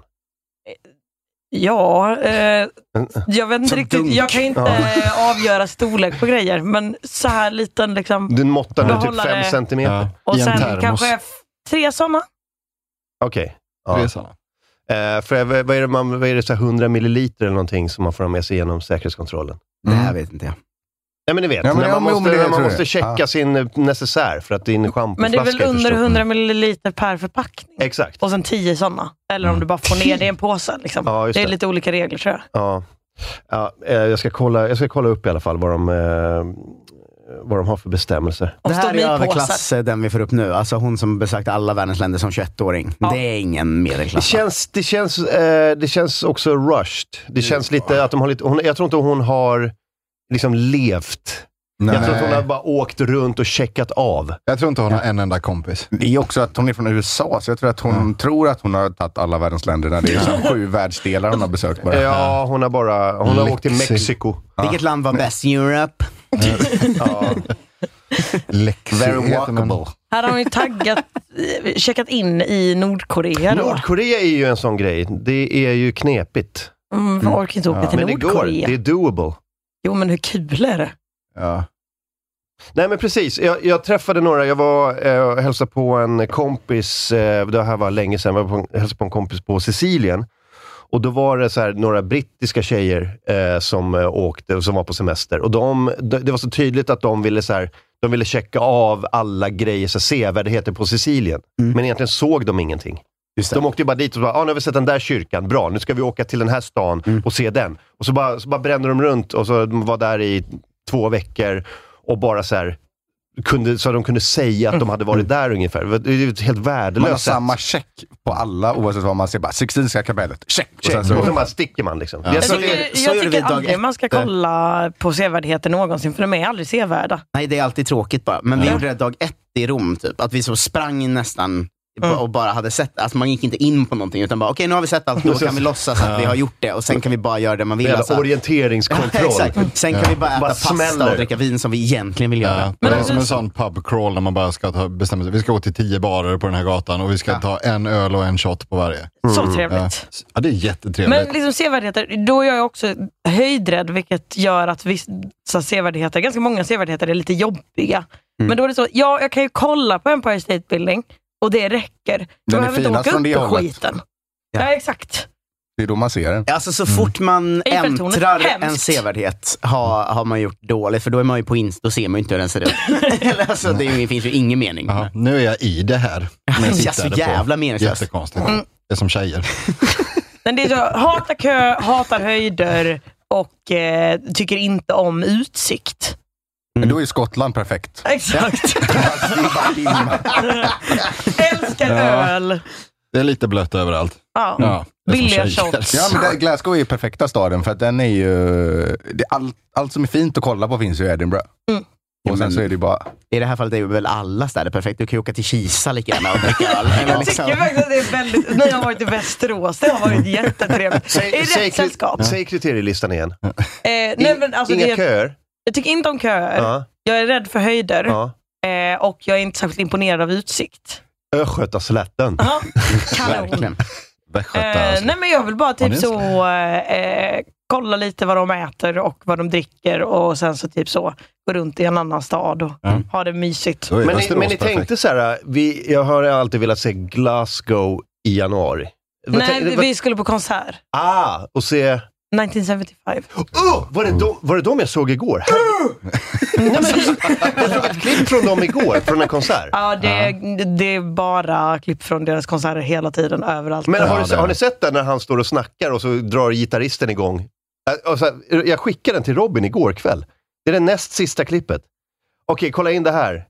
ja, eh, jag vet inte
Som
riktigt.
dunk.
Jag kan ju inte eh, avgöra storlek på grejer, men så här liten liksom.
Den måttar nu typ
Behålla
fem
det.
centimeter.
Ja.
Och
I en
sen
termos.
kanske f- tre sådana.
Okej.
Det är
Ja.
sådana.
Eh, för vad vad är det, man, vad är det så här 100 milliliter eller någonting som man får ha med sig genom säkerhetskontrollen?
Det här vet inte jag.
Nej men ni vet,
Ja, men
när
ja,
man,
men
måste,
jo, men det
när
tror
man
jag.
måste checka
Ja.
sin eh, necessär för att din schampoflaska
Men det är väl
för
under
stor.
100 milliliter per förpackning.
Exakt.
Och sen tio sådana. Eller om du bara får ner det i en påse. Liksom.
Ja, just
det är
det.
lite olika regler tror jag.
Ja. Ja, eh, jag, ska kolla, jag ska kolla upp i alla fall vad de, eh, vad de har för bestämmelser.
Och
det här är
stomipåsar.
överklass, eh, den vi får upp nu. Alltså hon som besökt alla världens länder som 21-åring.
Ja.
Det är ingen
Det
medelklass. va?
känns, det känns, eh, det känns också rushed.
Mm.
Det känns lite att de har lite, hon, jag tror inte hon har liksom levt. Jag tror att hon har bara åkt runt och checkat av.
jag tror inte hon har en enda kompis.
Det är också att hon är från USA, så jag tror att hon tror att hon har tagit alla världens länder. När det är så här sju världsdelar hon har besökt bara.
Ja, hon har bara hon har åkt till
Lexi.
Mexiko.
Vilket land var bäst? Europe?
Ja.
Lexi
Very
heter man.
walkable.
Här har hon ju taggat, eh, checkat in i Nordkorea då.
Nordkorea är ju en sån grej. Det är ju knepigt.
Mm, jag orkar inte åka till
Men det går.
Nordkorea.
Det är doable.
Jo men hur kul är det?
Ja.
Nej men precis, jag, jag träffade några, jag var eh, och hälsade på en kompis, eh, det här var länge sedan, jag var på, en- hälsade på en kompis på Sicilien. Och då var det så här, några brittiska tjejer eh, som eh, åkte och som var på semester. Och de, de, det var så tydligt att de ville, så här, de ville checka av alla grejer, så här, sevärdheter på Sicilien. Men egentligen såg de ingenting.
Just
De åkte ju bara dit och bara, ah, nu har vi sett den där kyrkan, bra, nu ska vi åka till den här stan och se den. Och så bara, så bara brände de runt och så de var där i två veckor och bara så här, kunde, så de kunde säga att de hade varit där ungefär. Det är ju ett helt
Man har
värdelöst
samma
sätt.
check på alla oavsett vad man ser. Bara Sixtinska kapellet, check! Och sen
Check. Och så
så,
bara sticker man liksom.
Ja.
Jag
Jag
tror
tycker,
det-
så
jag
gjorde vi
tycker
dag
aldrig man ska
efter.
kolla på sevärdheter någonsin för de är aldrig sevärda.
Nej, det är alltid tråkigt bara. Men vi gjorde det dag ett i Rom, typ. Att vi så sprang nästan ba- och bara hade sett. Alltså man gick inte in på någonting utan bara okej nu har vi sett allt, då kan vi låtsas att vi har gjort det och sen kan vi bara göra det man vill.
Jävla
Alltså. Ja,
orienteringskontroll.
exakt. Sen kan vi bara äta
Bara
pasta
smäller.
och dricka vin som vi egentligen vill göra.
Ja, det
Men
var
alltså-
som en sån pub crawl när man bara ska ta, bestämma sig. Vi ska gå till tio barer på den här gatan och vi ska ta en öl och en shot på varje.
Så
Ja,
trevligt.
ja det är
Men
jättetrevligt.
liksom sevärdheter, då är jag också höjdrädd vilket gör att vissa sevärdheter, ganska många sevärdheter är lite jobbiga. Men då är det så, ja jag kan ju kolla på Empire State Building och det räcker. Då
är
behöver jag inte
finast
åka
från det
upp på
hållet.
skiten.
Ja.
Ja. exakt.
Det är då man ser den.
Alltså så fort
Mm.
man
Eiffeltornet,
äntrar
hemskt.
en sevärdhet har, har man gjort dåligt, för då är man ju på Insta, då ser man ju inte hur den ser ut. Eller, alltså, det är ju- finns ju ingen mening.
Ja, nu är jag i det här. Men
Ja,
jag
så
tittade på.
jävla meningslöst.
Jättekonstigt.
Mm.
Det är som tjejer.
Men det är så, hatar kö, hatar höjder och eh, tycker inte om utsikt.
Men då är Skottland perfekt.
Exakt.
Det är bara dimma.
Älskar öl.
Det är lite blött överallt.
Ja.
Ja, det är som
Billiga
tjejer.
shots.
Ja, men där, Glasgow är ju perfekta staden för att den är ju... Det, allt, allt som är fint att kolla på finns ju i Edinburgh.
Mm.
Och sen så är det ju bara...
I det här fallet är väl alla städer perfekt. Du kan ju åka till Kisa lika gärna och dricka öl. liksom-
Jag tycker faktiskt att det är väldigt... När jag har varit i Västerås, det har varit jättetrevligt. I rätt
säg,
sällskap.
kri- säg kriterielistan igen.
Eh, nej, men alltså,
Inga
det,
köer.
jag tycker inte om köer.
Ja,
Jag är rädd för höjder
ja.
eh, och jag är inte särskilt imponerad av utsikt.
Östgötaslätten.
Ja, kanon.
Verkligen.
Västgötar,
Eh,
alltså.
nej, men jag vill bara
Ja, det
typ
är
så eh, kolla lite vad de äter och vad de dricker och sen så typ så gå runt i en annan stad och
Ja.
ha det mysigt.
Då är
Men ni,
Västerås
men ni
perfekt.
tänkte så här, vi, jag har alltid velat se Glasgow i januari. Vad
Nej,
tänkte-
vi,
vad-
vi skulle på konsert.
Ah, och se...
1975.
Oh, var, det de, var det de jag såg igår? Nej, men, jag såg ett klipp från dem igår, från en konsert.
Ja, det, det är bara klipp från deras konserter hela tiden, överallt.
Men har,
Ja,
du,
det-
har ni sett den när han står och snackar och så drar gitarristen igång? Ä- och så här, jag skickade den till Robin igår kväll. Det är det näst sista klippet. Okej, kolla in det här.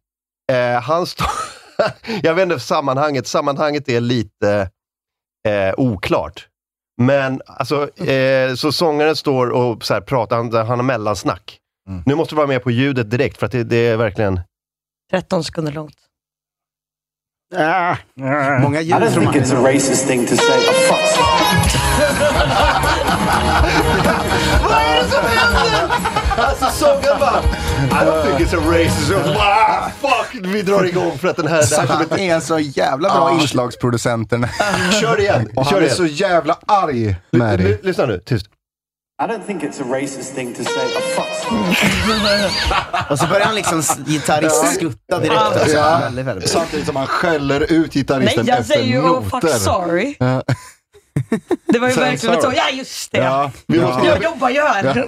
Eh, han står... jag vet inte sammanhanget. Sammanhanget är lite eh, oklart. Men alltså, eh, så sångaren står och så här, pratar, han, han har mellansnack.
Mm.
Nu måste du vara med på ljudet direkt, för att det, det är verkligen...
13 sekunder långt.
Ah.
Många djur tror man.
Alltså sångaren bara... I don't think it's a racism. Ah, fuck! Vi drar igång för att den här... Det här som
Han är en så jävla bra
Ah.
inslagsproducent. den här.
ett, kör igen!
Och
Kör
han är
igen.
så jävla arg med
L-
dig.
lyssna nu, tyst.
I don't think it's a racist thing to say. A fuck.
Och så börjar han liksom s- gitarrist-skutta direkt. Alltså.
Ja.
Väldigt, väldigt bra.
Samtidigt som han skäller ut
Nej,
gitarristen
jag säger
efter
ju oh fuck
noter.
sorry.
Ja.
Det var ju
Sen
verkligen ett så,
sorry.
ja just det.
Ja,
Vi
ja.
måste-
Jag jobbar ju här.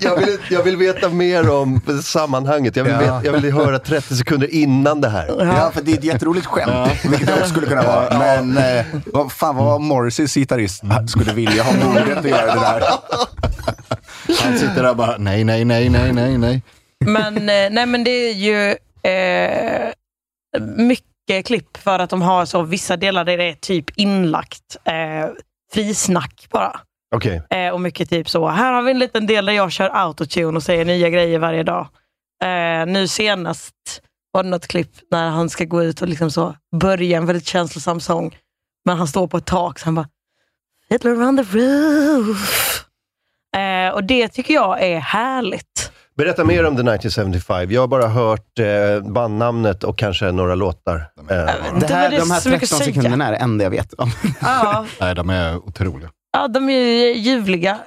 Jag vill, jag vill veta mer om sammanhanget. Jag vill,
Ja.
veta, jag vill höra 30 sekunder innan det här.
Ja, för det är ett jätteroligt skämt, vilket det också skulle kunna vara. Men eh, vad fan vad Morrisseys gitarrist Ah, skulle vilja ha modet att göra det där.
Han sitter där och bara, nej, nej, nej, nej, nej, nej.
Men, eh, nej, men det är ju eh, mycket klipp för att de har så, vissa delar där det är typ inlagt eh, frisnack bara.
Okej.
Eh, och mycket typ så, här har vi en liten del där jag kör autotune och säger nya grejer varje dag. Eh, nu senast var det något klipp när han ska gå ut och liksom så börja en väldigt känslosam sång. Men han står på ett tak så han bara Fiddler on the roof. Eh, och det tycker jag är härligt.
Berätta mer om The 1975. Jag har bara hört eh, bandnamnet och kanske några låtar. Eh,
Det här,
Det var det
de här
så mycket
13
att säga.
sekunderna är det enda jag vet om.
Ja,
Nej, de är otroliga.
ja de är ju ljuvliga. Eh,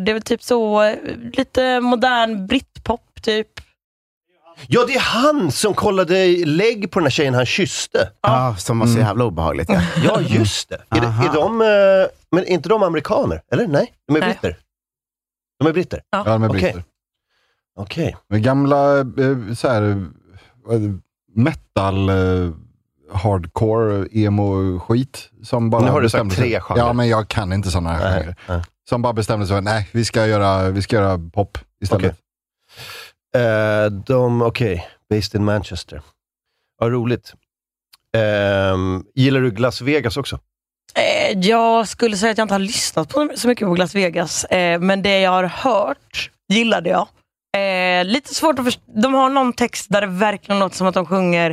det är väl typ så eh, lite modern britpop typ.
ja, det är han som kollade lägg på den här tjejen han kysste.
Ja, som var så
Mm.
jävla obehagligt. Ja.
Ja, just det. Är, det, är
Aha.
de... Eh, men är inte de amerikaner? Eller? Nej, de är
Nej.
britter. De är britter?
Ja, de är
Okej.
britter.
Okej.
Men Gamla eh, så här, eh, metal, eh, hardcore, emo-skit. Som bara
Nu har du
bestämde
sagt
sig-
tre genrer.
Ja, men jag kan inte sådana här genrer.
nej.
Som bara bestämde sig för, nej, vi ska göra, vi ska göra pop istället.
Okej. Eh, de, okej, based in Manchester. Vad roligt. Ehm, gillar du Las Vegas också?
Eh, jag skulle säga att jag inte har lyssnat på så mycket på Las Vegas, eh, men det jag har hört gillade jag. Eh, lite svårt att förstå. De har någon text där det verkligen låter som att de sjunger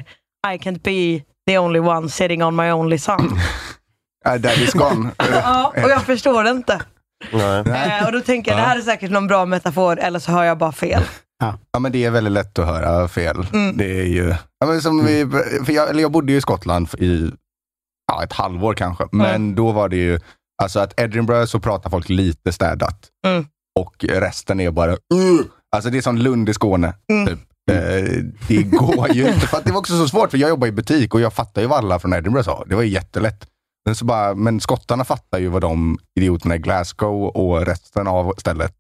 I can't be the only one sitting on my only son.
Äh, Daddy's gone.
ja, och jag förstår det inte.
Nej.
Eh, och då tänker jag, det här är säkert någon bra metafor, eller så har jag bara fel.
Ja, men det är väldigt lätt att höra fel. Det är ju... Ja, men som vi, för jag, eller jag bodde ju i Skottland i ja, ett halvår kanske, men då var det ju... Alltså att Edinburgh så pratar folk lite städat.
Mm.
Och resten är bara... "Ugh." Alltså det är som Lund i Skåne. Typ. Eh, Det går ju inte. För att det var också så svårt, för jag jobbar i butik och jag fattar ju vad alla från Edinburgh sa. Det var ju jättelätt. Men, så bara, men skottarna fattar ju vad de idioterna i Glasgow och resten av stället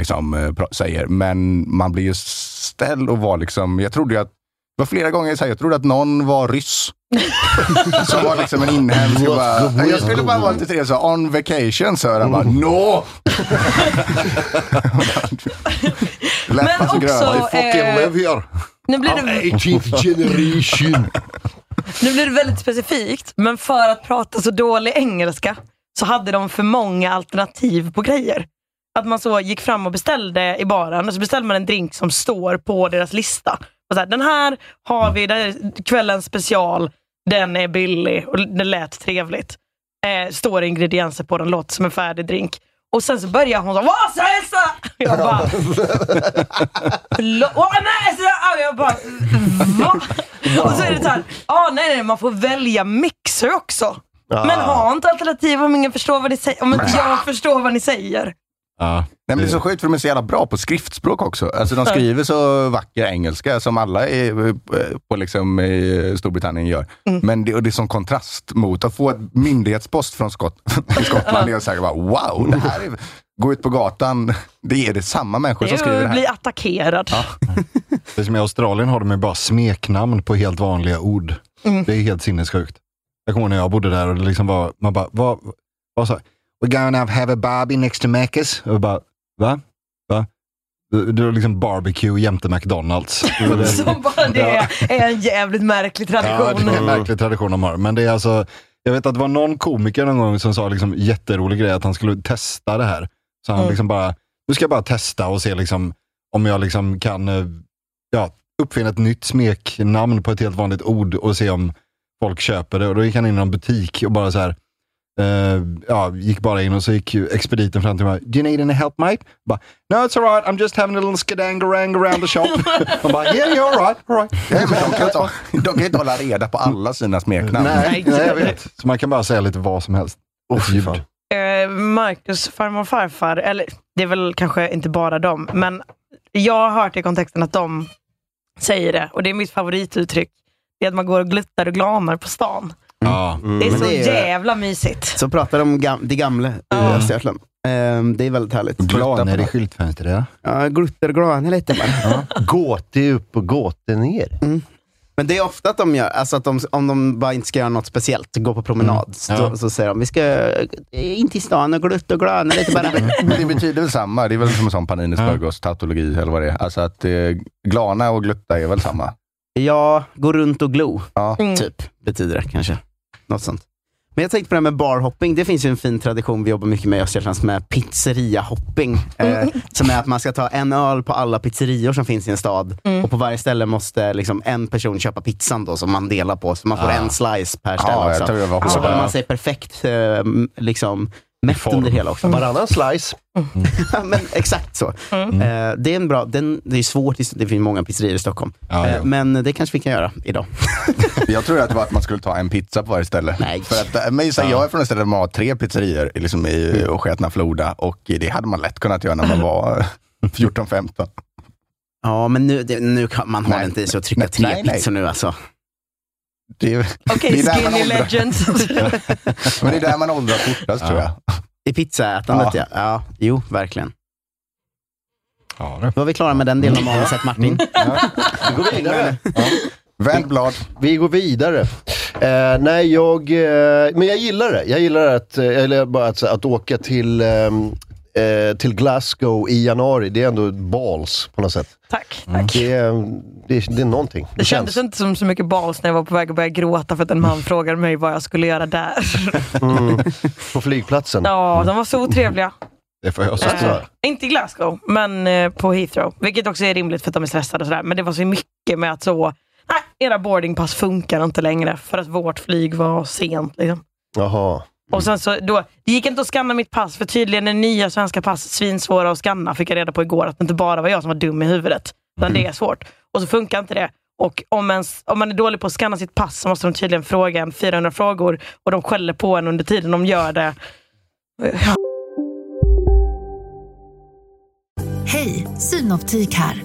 liksom, eh, pra- säger. Men man blir ju ställd och var liksom... Jag trodde ju att... Det var flera gånger jag sa, jag trodde att någon var ryss. Som var liksom en inhemsk. Jag, bara, jag skulle bara vara lite trevlig. så här, On vacation, sa jag. Han bara, no!
Men
Läpparna gröna.
också, eh,
here.
nu blir det
18th generation.
Nu blir det väldigt specifikt, men för att prata så dålig engelska så hade de för många alternativ på grejer. Att man så gick fram och beställde i baren och så beställde man en drink som står på deras lista. Och så här, den här har vi, det här är kvällens special, den är billig och den lät trevligt. Eh, står ingredienser på den, låter som en färdig drink. Och sen så börjar hon så Vad sa jag sa?" Jag bara... "Förlåt, åh, nej, så där." Och jag bara... Va? Och så är det såhär, ah, nej, nej, man får välja mixer också. Men ha inte alternativ om ingen förstår vad ni säger. Om inte jag förstår vad ni säger.
Ja,
Nej, men det är så sjukt för de är så jävla bra på skriftspråk också. Alltså, de skriver så vacker engelska som alla i, eh, på liksom, i Storbritannien gör.
Mm.
Men det, och det är som kontrast mot att få ett myndighetspost från Skott, i Skottland. Det är så här, bara, wow, det här är, gå ut på gatan. Det är det samma människor som skriver det
Jag
här.
blir attackerad.
Det som i Australien har de ju bara smeknamn på helt vanliga ord.
Mm.
Det är helt sinnessjukt. Jag kommer ihåg när jag bodde där och det liksom var, man bara, vad, vad sa We're going to have a barbie next to Mac's. Och jag bara, va? Va? Det det var liksom barbecue jämte McDonalds. Det var det-
Som bara det är en jävligt märklig
Ja, det är en
tradition.
märklig tradition de har. Men det är alltså, jag vet att det var någon komiker någon gång som sa liksom jätterolig grej, att han skulle testa det här. Så han
Mm.
liksom bara, nu ska jag bara testa och se liksom, om jag liksom kan eh, ja, uppfinna ett nytt smeknamn på ett helt vanligt ord och se om folk köper det. Och då gick han in i någon butik och bara så här, eh, ja, gick bara in och så gick ju expediten fram till mig. Do you need any help mate? Jag Bara, no it's alright, I'm just having a little skedangarang around the shop. Han bara, yeah, yeah alright, alright.
Nej, men de, kan inte, ha- de kan inte hålla reda på alla sina smeknamn.
Nej, nej, jag vet. Så man kan bara säga lite vad som helst. Oh,
fy fan.
Eh, Marcus farmor och farfar, eller det är väl kanske inte bara dem, men jag har hört i kontexten att de säger det. Och det är mitt favorituttryck. Det är att man går och gluttar och glamar på stan.
Ja.
Det är
Men
så
det är-
jävla mysigt.
Så pratar de om gam- det gamla i Östergötland. Ehm, det är väldigt härligt.
Glaner i skyltfönstret, ja.
Ja, glutterglana lite bara.
Gåte upp och gåte ner.
Men det är ofta att de gör, alltså att de, om de bara inte ska göra något speciellt, gå på promenad, så,
Ja.
så säger de, vi ska eh, in till stan och glutta och glöna lite bara.
Men det betyder väl samma. Det är väl som en sån Paninis Burgos tautologi eller vad det är. Alltså att eh, glana och glutta är väl samma.
ja, gå runt och glo,
Ja.
Mm.
typ, betyder det kanske. Något sånt. Men jag tänkte på det här med barhopping. Det finns ju en fin tradition vi jobbar mycket med i Östergötland som är pizzeriahopping. Eh, som är att man ska ta en öl på alla pizzerior som finns i en stad. Och på varje ställe måste liksom en person köpa pizzan då, som man delar på. Så man får
Ah.
en slice per ställe
Ja, jag
också.
tror det var
Och så
hårdare.
håller man sig perfekt eh, m- liksom, mätt
form.
under hela också.
Varannan slice.
Ja, men exakt så. Eh, det är en bra, den, det är svårt, i- det finns många pizzerior i Stockholm.
Ja,
Eh,
jo.
men det kanske vi kan göra idag.
Jag tror att det var att man skulle ta en pizza på varje ställe.
Nej.
För att, eh, men så, här, Jag är från ett ställe där man har tre pizzerior liksom i
Mm.
Sketna Floda och det hade man lätt kunnat göra när man var eh, 14-15.
Ja, men nu, det, nu kan man har
Nej.
inte i sig att trycka
Nej,
tre
nej, nej.
pizzor nu alltså.
Det är,
Okej,
Det är där man
skinny
åldras.
legends.
men det är där man åldras fortast tror jag.
I pizzaätandet ja.
Ja.
ja. Jo, verkligen.
Ja, det.
Då var vi klara med den delen
Mm.
av manuset Martin.
Mm.
Vi går vidare.
Vänd blad.
Vi går vidare. Eh, nej, jag, eh, men jag gillar det. Jag gillar att, eh, eller bara att, att åka till, ehm, eh, till Glasgow i januari. Det är ändå balls på något sätt. Mm.
Tack.
Det, är, det, är, det är någonting.
Det kändes inte som så mycket balls när jag var på väg att börja gråta för att en man frågade mig vad jag skulle göra där.
Mm. På flygplatsen.
Ja, de var så otrevliga.
det får jag
Eh,
säga.
inte i Glasgow, men eh, på Heathrow. Vilket också är rimligt för att de är stressade och sådär. Men det var så mycket med att så, nej, era boardingpass funkar inte längre för att vårt flyg var sent. Liksom.
Jaha.
Och sen så, då, det gick inte att skanna mitt pass, för tydligen är nya svenska pass svinsvåra att skanna, fick jag reda på igår. Att det inte bara var jag som var dum i huvudet, utan det är svårt. Och så funkar inte det. Och om, ens, om man är dålig på att skanna sitt pass så måste de tydligen fråga en 400 frågor och de skäller på en under tiden de gör det.
Hej, Synoptik här.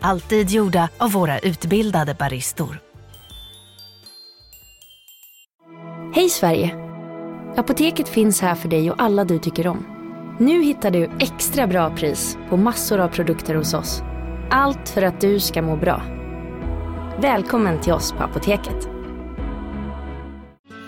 Alltid gjorda av våra utbildade baristor.
Hej Sverige! Apoteket finns här för dig och alla du tycker om. Nu hittar du extra bra pris på massor av produkter hos oss. Allt för att du ska må bra. Välkommen till oss på Apoteket.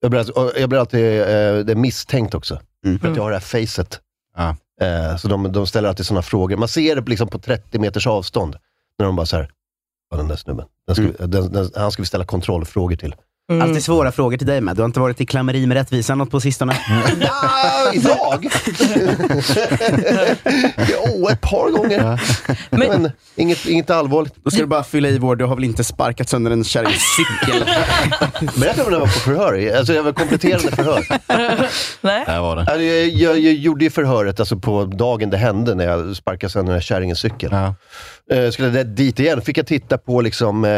Jag blir, alltså- och jag blir alltid eh, det är misstänkt också,
Mm.
för att jag har det här facet.
Ja.
Eh, så de, de ställer alltid sådana frågor. Man ser det liksom på 30 meters avstånd, när de bara så här, "Ja, den där snubben, den ska,
Mm.
vi- den, den, han ska vi ställa kontrollfrågor till.
Mm.
Alltid svåra frågor till dig med. Du har inte varit i klammeri med rättvisan något på sistone.
Ah, idag? jo, ett par gånger. Men, inget, inget allvarligt.
Då ska du bara fylla i vår, du har väl inte sparkat sönder en kärrings cykel?
Berätta om när jag var på förhör. Alltså, jag var kompletterande förhör.
Nej.
Där var det.
Alltså, jag, jag, jag gjorde ju förhöret alltså, på dagen det hände, när jag sparkade sönder den här kärringens cykel.
Ja.
Eh, skulle jag dit igen, fick jag titta på liksom, eh,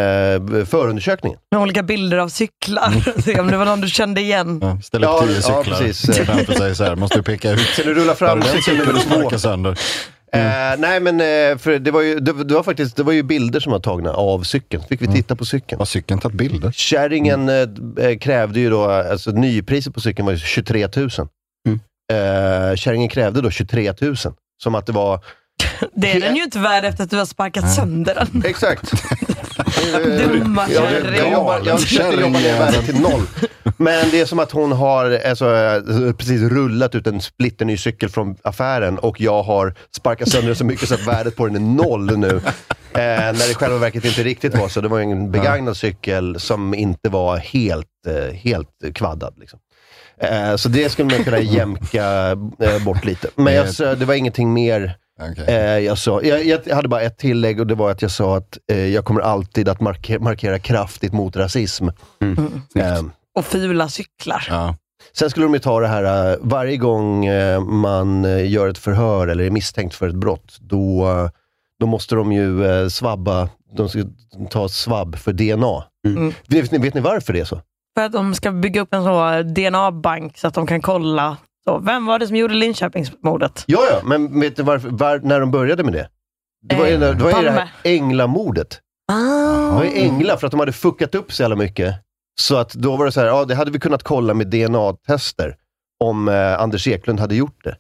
förundersökningen.
Med olika bilder av
Mm.
cyklar. Se om det var någon du kände igen.
Ja, ställ upp
Ja,
tio
ja,
cyklar
precis.
framför sig så här. Måste du peka ut.
Kan du rulla
Där
fram
den cykeln Mm. vill du sparka sönder.
Eh, nej, men eh, för det, var ju, det, det, var faktiskt, det var ju bilder som var tagna av cykeln. Så fick vi
Mm.
titta på cykeln.
Har cykeln tagit bilder?
Kärringen
Mm.
eh, eh, krävde ju då, alltså nypriset på cykeln var ju 23 000.
Mm.
Eh, kärringen krävde då 23 000. Som att det var...
Det är den ju inte värd efter att du har sparkat sönder den.
Exakt.
Dumma
jag, jag, jag, jobbar- jag försökte jobba ner värdet till noll. Men det är som att hon har alltså, eh, precis rullat ut en splitterny cykel från affären och jag har sparkat sönder den så mycket så att värdet på den är noll nu. Eh, när det i själva verket inte riktigt var så. Det var ju en begagnad cykel som inte var helt, eh, helt kvaddad. Liksom. Eh, så det skulle man kunna jämka eh, bort lite. Men jag, sa- det var ingenting mer
Okej.
Eh, jag, sa, jag, jag hade bara ett tillägg och det var att jag sa att eh, jag kommer alltid att marke, markera kraftigt mot rasism. Eh,
Och fula cyklar.
Ja.
sen skulle de ju ta det här, eh, varje gång eh, man eh, gör ett förhör eller är misstänkt för ett brott, då, eh, då måste de ju eh, svabba, de ska ta svabb för DNA.
Mm.
Vet, ni, vet ni varför det är så?
För att de ska bygga upp en så DNA-bank så att de kan kolla. Så, vem var det som gjorde Linköpingsmordet?
Ja, ja, men vet ni varför, var, när de började med det? Det var ju,
Eh,
det var ju det
Palme.
här änglamordet. Det var ju änglar för att de hade fuckat upp så jävla mycket. Så att då var det så här, ja det hade vi kunnat kolla med DNA-tester om eh, Anders Eklund hade gjort det.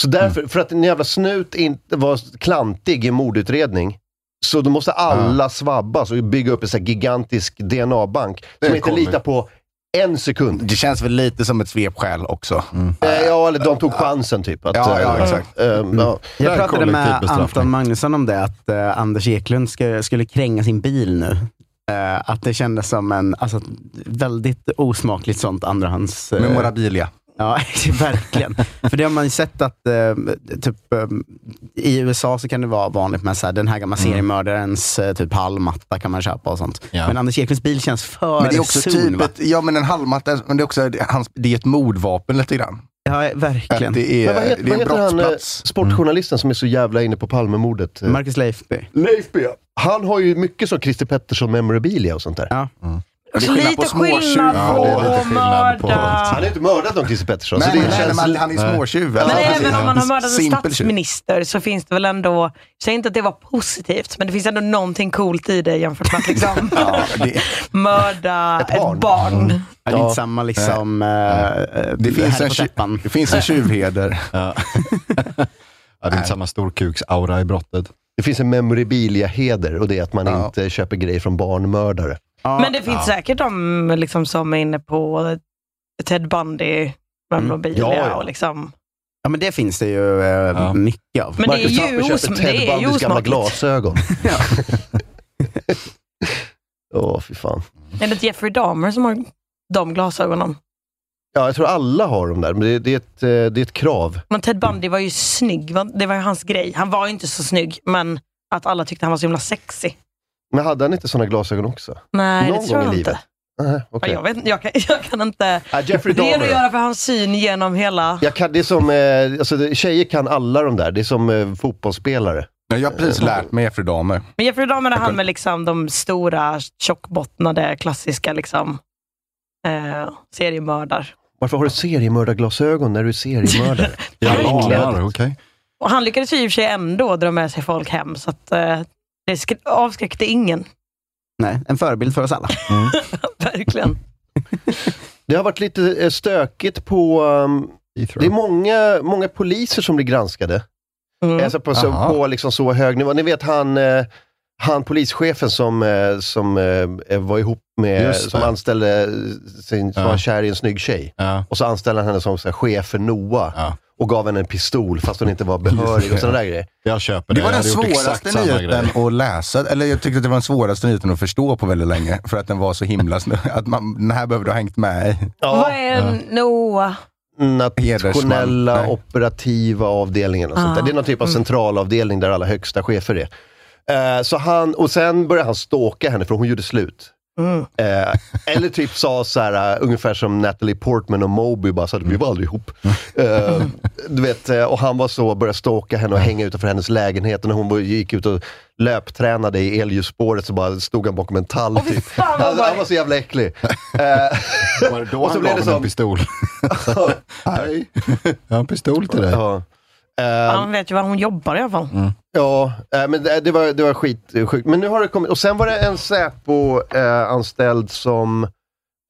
Så därför, för att en jävla snut inte var klantig i en mordutredning, så då måste alla svabbas och bygga upp en så här gigantisk DNA-bank
Det
som
är
inte
kollning.
litar på en sekund.
Det känns väl lite som ett svepskäl också.
Eh, ja, eller de tog chansen typ. Att,
Ja, ja,
eh,
exakt.
eh,
Mm.
ja.
Där
Jag pratade
kollektiv
med
bestraffning.
Anton Magnusson om det, att eh, Anders Eklund ska, skulle kränga sin bil nu. Eh, att det kändes som en alltså, ett väldigt osmakligt sånt andrahands... eh,
Memorabilia.
Ja, verkligen. För det har man ju sett att eh, typ, eh, i USA så kan det vara vanligt med så här, den här
Mm.
gamla seriemördarens eh, typ halmmatta kan man köpa och sånt.
Ja.
Men Anders Eklunds bil känns för
Men det är också
sun,
typ
va?
ett, ja men en halmmatta, men det är också det är hans, det är ett mordvapen lite grann.
Ja,
Att
verkligen.
det
Men vad
är,
heter,
det är en
vad heter han, eh,
brottsplats. Mm.
sportjournalisten som är så jävla inne på Palmemordet? eh?
Marcus Leifby.
Leif B. Han har ju mycket så Christer Pettersson memorabilia och sånt där.
Ja.
Det är skillnad
Lite
på småtjuv.
skillnad
Ja,
på
det är lite
att
skillnad på-
mörda.
Han har inte mördat någon Christer Pettersson.
Nej,
så det
nej,
känns
men
li-
han är småtjuv, eller?
Men
Nej.
Ja, precis.
även om man har mördat en
Simpel tjuv.
statsminister så finns det väl ändå, säg inte att det var positivt, men det finns ändå någonting coolt i det jämfört med att liksom mörda ett barn.
Mm.
Ja, det är inte samma liksom... eh,
Det finns,
här
en,
på
tju-
täppan.
det finns en tjuvheder.
Ja. det är inte samma storkuksaura i brottet.
Det finns en memorabilia-heder och det är att man inte köper grejer från barnmördare.
Men det finns säkert de liksom, som är inne på Ted Bundy,
Mm.
memorabilia
Ja, ja.
och liksom.
Ja, men det finns det ju eh, mycket av.
Men det är Marcus ju Tapper köper osm- Ted det är ju Bundys gamla osmakligt.
glasögon. Åh, fy fan.
Är det inte Jeffrey Dahmer som har de glasögonen?
Ja, jag tror alla har dem där, men det, det, är, ett, eh, det är ett krav.
Men Ted Bundy var ju snygg, va? det var ju hans grej. Han var ju inte så snygg, men att alla tyckte han var så himla sexig.
Men hade han inte sådana glasögon också?
Nej, det
Någon
tror
gång
jag
i
inte.
livet? Nej, okej.
Jag, vet, inte, jag, kan, jag kan inte...
Ah, Jeffrey
det är
Dahmer.
att göra för hans syn genom hela...
Jag kan, det är som, eh, alltså, det- tjejer kan alla de där. Det är som eh, fotbollsspelare.
Jag har
Eh,
precis lärt mig Jeffrey Dahmer.
Men Jeffrey Dahmer är han med liksom de stora, tjockbottnade, klassiska liksom, eh, seriemördar.
Varför har du seriemördarglasögon när du är seriemördare?
Japaner, okej.
Och han lyckades ju i och för sig ändå dra med sig folk hem, så att, eh, det sk- avskräckte ingen.
Nej, en förebild för oss alla.
Verkligen.
Det har varit lite eh, stökigt på... ehm, det är många, många poliser som blir granskade.
Mm.
Alltså på, så,
Mm. Aha.
på liksom så hög nivå. Ni vet han, eh, han polischefen som, eh, som eh, var ihop med,
Just det.
som anställde eh, sin, som var kär i en snygg tjej. Och så anställde han henne som så här, chef för NOA. Och gav henne en pistol fast hon inte var behörig och sådana där grejer.
Jag köper
Det
det.
var
Jag
den
hade gjort exakt
svåraste
samma grej.
nyheten att läsa, eller jag tyckte att det var den svåraste nyheten att förstå på väldigt länge. För att den var så himla snö. Att man, den här behöver du ha hängt med i.
Vad är Noah?
Hedersman,
Nationella
nej.
operativa avdelningen. Och sånt där.
Ah.
Det är någon typ av centralavdelning där alla högsta chefer är. Eh, så han, och sen började han stalka henne för hon gjorde slut.
Mm.
Eh, eller typ sa så här, eh, ungefär som Natalie Portman och Moby, bara så att vi var aldrig ihop. Eh, du vet, eh, och han var så, började stalka henne och hänga utanför hennes lägenhet. Och när hon var- gick ut och löptränade i elljusspåret så bara stod han bakom en tall. typ.
vad
han,
var-
han var så jävla äcklig. Eh,
Var det då
Och så
han
blev
gav honom en
det som-
pistol? Nej. Jag har en pistol till dig.
Ja. Eh,
Han vet ju var hon jobbar i alla fall.
Ja, eh, men det, det, var, det var skitsjukt. Men nu har det kommit, och sen var det en Säpo-anställd som,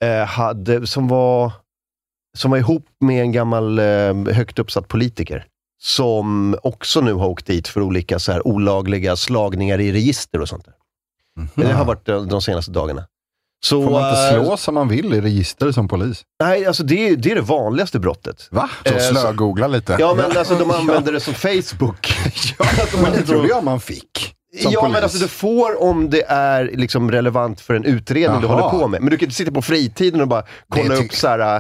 eh, hade, som, var, som var ihop med en gammal eh, högt uppsatt politiker. Som också nu har åkt dit för olika så här, olagliga slagningar i register och sånt där. Det har varit de, de senaste dagarna. Så,
Får man inte
eh,
slå som man vill i register som polis?
Nej, alltså det, är- det är det vanligaste brottet.
Va?
Så
Eh, så-
slögoogla lite.
Ja, men alltså de använder det som Facebook. Att de
Men det
inte-
trodde jag man fick. Som
ja,
polis.
men alltså du får om det är liksom relevant för en utredning du
Jaha.
håller på med. Men du kan inte sitta på fritiden och bara kolla
Det ty-
upp så här,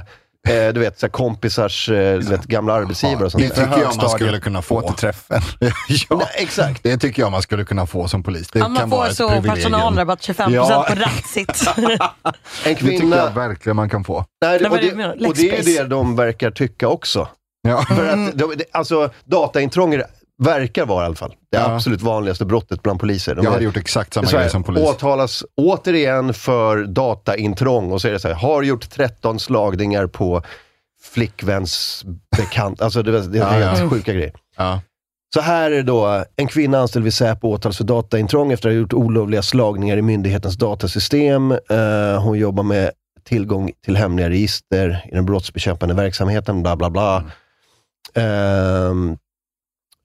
eh, du vet, så här kompisars eh, du vet, gamla arbetsgivare och sånt
Det
där.
tycker jag man skulle kunna få.
Återträffen.
ja,
exakt.
Det tycker jag man skulle kunna få som polis. Det
Ja,
kan
man får
vara ett
så
privilegium.
personalrabatt 25%
Ja.
på Ratsit.
En
Det tycker jag
kvinna...
verkligen man kan få.
Nej,
Nej,
och,
vad är det du menar?
det, och det är ju
Lexbase.
det de verkar tycka också.
Ja.
För att, de, de- alltså, dataintrång verkar vara i alla fall det
Ja.
absolut vanligaste brottet bland poliser. De
Jag hade
är-
gjort exakt samma
så här,
grej som polis.
åtalas återigen för dataintrång och så är det så här, har gjort 13 slagningar på flickväns bekant. Alltså det, det är
Ja,
helt
ja.
sjuka grejer.
Ja.
Så här är då, en kvinna anställd vid Säpo åtalas för dataintrång efter att ha gjort olovliga slagningar i myndighetens datasystem. Eh, hon jobbar med tillgång till hemliga register i den brottsbekämpande verksamheten, bla bla bla. Ehm,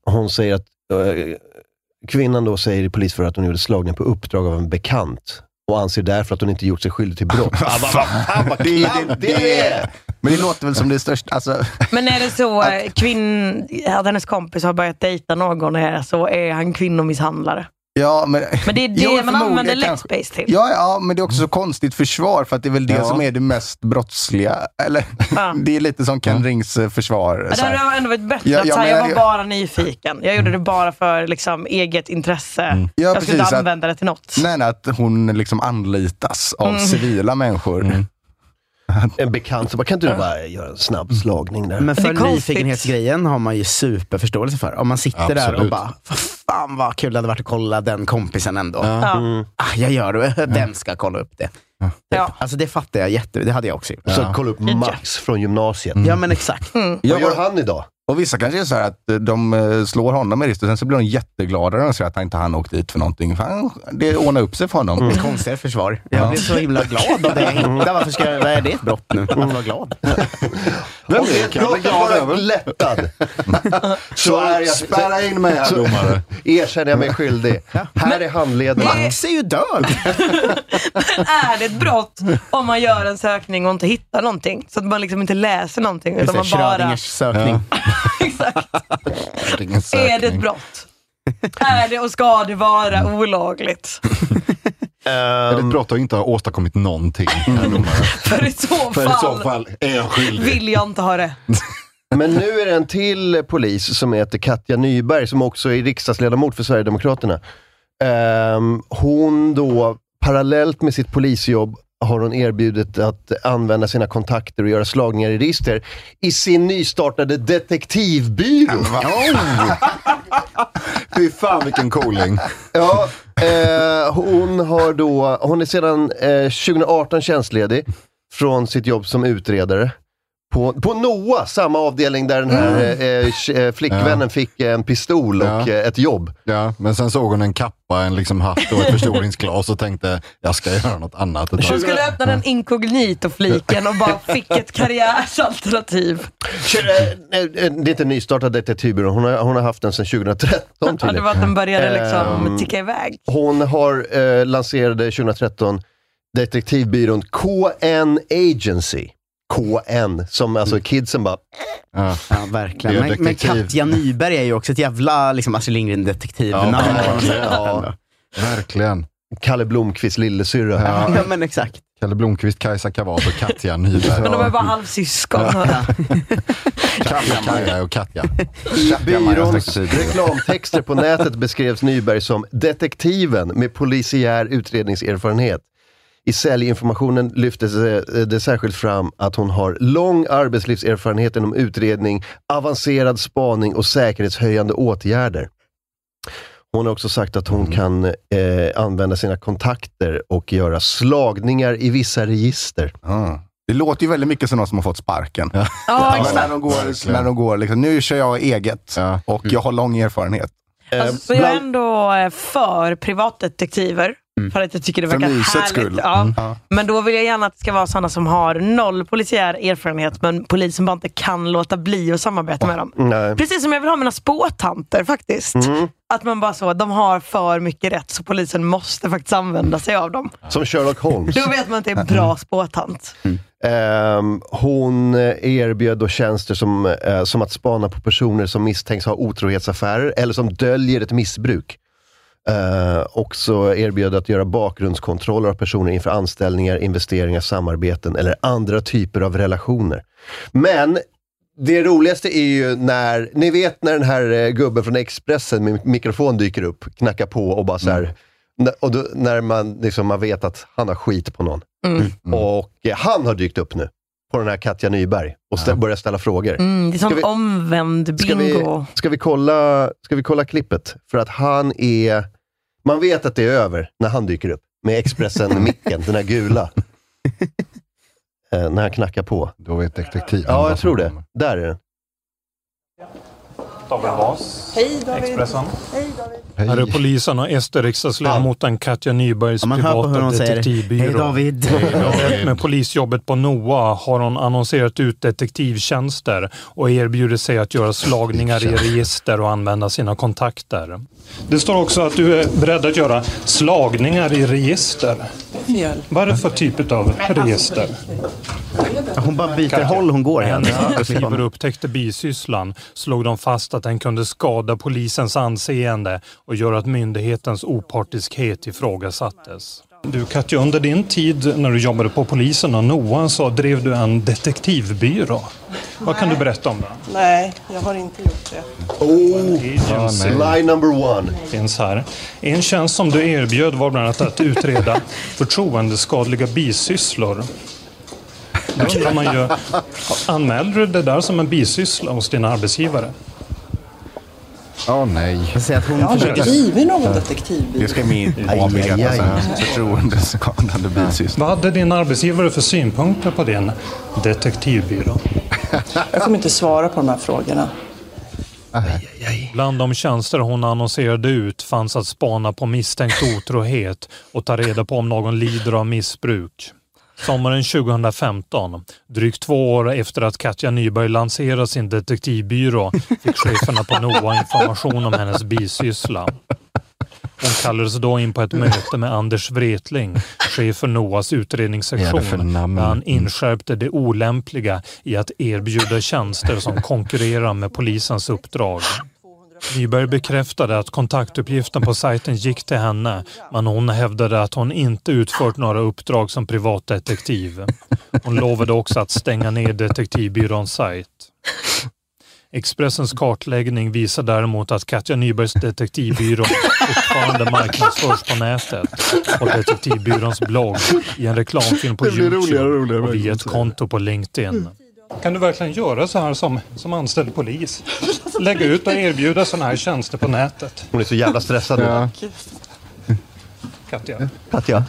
hon säger att eh, Kvinnan då säger i polisförhör att hon gjorde slagningen på uppdrag av en bekant och anser därför att hon inte gjort sig skyldig till brott. Ah, vad fan vad
Det,
klamt
det, det är. Men det låter väl som det största. Alltså,
Men är det så eh, kvinn, att hennes kompis har börjat dejta någon här, så är han kvinnomisshandlare?
ja, men,
Men det är det
Jo,
man använder
förmodligen kanske.
Lexbase till.
Ja, ja, men det är också så konstigt försvar för att det är väl det
Mm. Ja.
som är det mest brottsliga. Eller,
Ja.
det är lite som Ken Rings eh, försvar.
Men
så här.
det hade ändå varit bättre
Ja,
att
ja,
säga, jag
men
var
jag-
bara nyfiken. Jag gjorde det bara för liksom, eget intresse. jag skulle
Mm. precis,
inte
att-
använda det till något.
Nej, nej, att hon liksom anlitas av civila människor.
Mm.
En bekant som bara, kan inte du bara göra en snabb slagning där?
Men
Det är
för
konstigt.
nyfikenhetsgrejen har man ju superförståelse för. Om man sitter där och
Absolut.
bara, vad fan vad kul det hade varit att kolla den kompisen ändå.
Ja. Mm.
Ah, jag gör det. Vem ska kolla upp det?
Ja.
Alltså det fattar jag jätte... Det hade jag också gjort.
Så kolla upp Max från gymnasiet.
Ja men exakt.
Vad gör han idag?
Och vissa kanske är så här att eh, de eh, slår honom i ristet, sen så blir de jätteglada när de ser att han inte hann åkt dit för någonting. Fan, det ordnar upp sig för honom.
Mm. Konstigt försvar. Jag blir så himla glad av det jag hittar. Varför ska jag... Är det ett brott nu? Att vara glad.
Vem
Okej,
vet,
kan jag bli
låt mig
glad
vara
över?
lättad.
Så är jag. Spärra in mig här
Så-
domare.
Erkänner jag mig skyldig. Här är handledaren.
Max är ju död!
är det ett brott om man gör en sökning och inte hittar någonting? Så att man liksom inte läser någonting. Utan man bara,
Schrödingers sökning.
är det ett brott? är det och ska det vara olagligt?
Är det ett brott att inte ha åstadkommit någonting? herr domare?
Mm. För i så
För i så
fall
fall är jag skyldig.
vill jag inte ha det.
Men nu är det en till polis som heter Katja Nyberg, som också är riksdagsledamot för Sverigedemokraterna. Ehm, hon då, parallellt med sitt polisjobb, har hon erbjudit att använda sina kontakter och göra slagningar i register i sin nystartade detektivbyrå.
Oh!
Fy fan vilken cooling.
Ja, eh, hon, har då, hon är sedan eh, 2018 tjänstledig från sitt jobb som utredare. På, på NOA, samma avdelning där den här
Mm.
eh, tj- eh, flickvännen fick en pistol och
Ja.
eh, ett jobb.
Ja, men sen såg hon en kappa, en liksom hatt och ett förstoringsglas och tänkte jag ska göra något annat. ett tag."
Hon skulle öppna den inkognito-fliken och bara fick ett karriärsalternativ.
Tj- eh, eh, det är inte en nystartad detektivbyrå, hon har, hon har haft den sedan 2013
Ja, det
tydligen.
var att den började liksom
Ehm.
ticka iväg.
Hon har eh, lanserade 2013 detektivbyrån KN Agency. KN, som alltså kidsen bara
Ja.
Ja,
Det är
verkligen. Men, men
detektiv.
Katja Nyberg är ju också ett jävla liksom, Astrid
Ja,
Lindgren-detektivnamn.
verkligen.
Ja.
Verkligen.
Kalle Blomkvists lillasyrra.
Ja.
ja, men exakt.
Kalle Blomqvist, Kajsa Kavat och Katja Nyberg.
Men de är bara halvsyskon.
Kaja, Kaja och Katja.
I byråns
Byråns
reklamtexter på nätet beskrevs Nyberg som detektiven med polisiär utredningserfarenhet. I säljinformationen lyftes eh, det särskilt fram att hon har lång arbetslivserfarenhet inom utredning, avancerad spaning och säkerhetshöjande åtgärder. Hon har också sagt att hon kan eh, använda sina kontakter och göra slagningar i vissa register.
Ja. Det låter ju väldigt mycket som någon som har fått sparken.
Ja,
Men när
exakt.
de går, när de går liksom, nu kör jag eget
Ja.
och jag har lång erfarenhet.
Alltså, så jag är ändå eh, för privatdetektiver. För att jag tycker det
För
verkar
mysets
härligt.
skull.
Ja.
Ja.
Men då vill jag gärna att det ska vara sådana som har noll polisiär erfarenhet, men polisen bara inte kan låta bli att samarbeta med dem.
Nej.
Precis som jag vill ha mina spåtanter faktiskt. Att man bara så, de har för mycket rätt så polisen måste faktiskt använda sig av dem.
Som Sherlock Holmes.
Då vet man att det är en bra spåtant.
Ehm, hon erbjöd då tjänster som, eh, som att spana på personer som misstänks ha otrohetsaffärer eller som döljer ett missbruk. Eh, och så erbjöd att göra bakgrundskontroller av personer inför anställningar, investeringar, samarbeten eller andra typer av relationer. Men det roligaste är ju när, ni vet när den här eh, gubben från Expressen med mikrofon dyker upp, knackar på och bara så här, n- och då, när man, liksom, man vet att han har skit på någon. Och eh, han har dykt upp nu på den här Katja Nyberg och stä- börjar ställa frågor.
Mm, det är
Ska
som
vi-
omvänd
Ska vi,
bingo.
ska, vi kolla, ska vi kolla klippet? För att han är... Man vet att det är över när han dyker upp med Expressen-micken, den här gula. Eh, när han knackar på.
Då vet detektiven.
Ja,
vad
jag
som
tror det.
kommer.
Där är den.
Hej.
Här är polisen och SD-riksdagsledamoten Katja Nybergs
Ja, man hör på hur
privata
hon säger Hej
detektivbyrå.
David.
Parallellt med polisjobbet på NOA har hon annonserat ut detektivtjänster och erbjudit sig att göra slagningar i register och använda sina kontakter. Det står också att du är beredd att göra slagningar i register. Vad är det för typ av register?
Hon bara byter håll hon går.
En
igen.
detektiver upptäckte bisysslan slog de fast att den kunde skada polisens anseende och göra att myndighetens opartiskhet ifrågasattes. Du Katja, under din tid när du jobbade på polisen och NOA så drev du en detektivbyrå. Vad kan du berätta om den?
Nej, jag har inte gjort det.
Oh,
Agency
lie number one.
finns här. En tjänst som du erbjöd var bland annat att utreda förtroendeskadliga bisysslor. Då undrar man ju, anmälde du det där som en bisyssla hos din arbetsgivare?
Åh nej.
Jag säger att hon
Jag har aldrig
försöker-
drivit någon detektivbyrå.
Det ska min
Aj,
avbeta
aj,
sen.
aj.
Förtroendeskadande bisyssla.
Vad hade din arbetsgivare för synpunkter på din detektivbyrå?
Jag kommer inte svara på de här frågorna.
Bland de tjänster hon annonserade ut fanns att spana på misstänkt otrohet och ta reda på om någon lider av missbruk. Sommaren 2015, drygt två år efter att Katja Nyberg lanserade sin detektivbyrå, fick cheferna på NOA information om hennes bisyssla. Hon kallades då in på ett möte med Anders Wretling, chef för NOAs
Vad är det för
utredningssektion,
namn?
där han inskärpte det olämpliga i att erbjuda tjänster som konkurrerar med polisens uppdrag. Nyberg bekräftade att kontaktuppgiften på sajten gick till henne, men hon hävdade att hon inte utfört några uppdrag som privatdetektiv. Hon lovade också att stänga ner detektivbyråns sajt. Expressens kartläggning visar däremot att Katja Nybergs detektivbyrå fortfarande marknadsförs på nätet och detektivbyråns blogg i en reklamfilm på
Det blir
Youtube
roligare och roligare
och via ett konto på LinkedIn. Kan du verkligen göra så här som, som anställd polis? Lägga ut och erbjuda sådana här tjänster på nätet.
Hon är så jävla stressad nu.
Ja.
Katja.
Katja.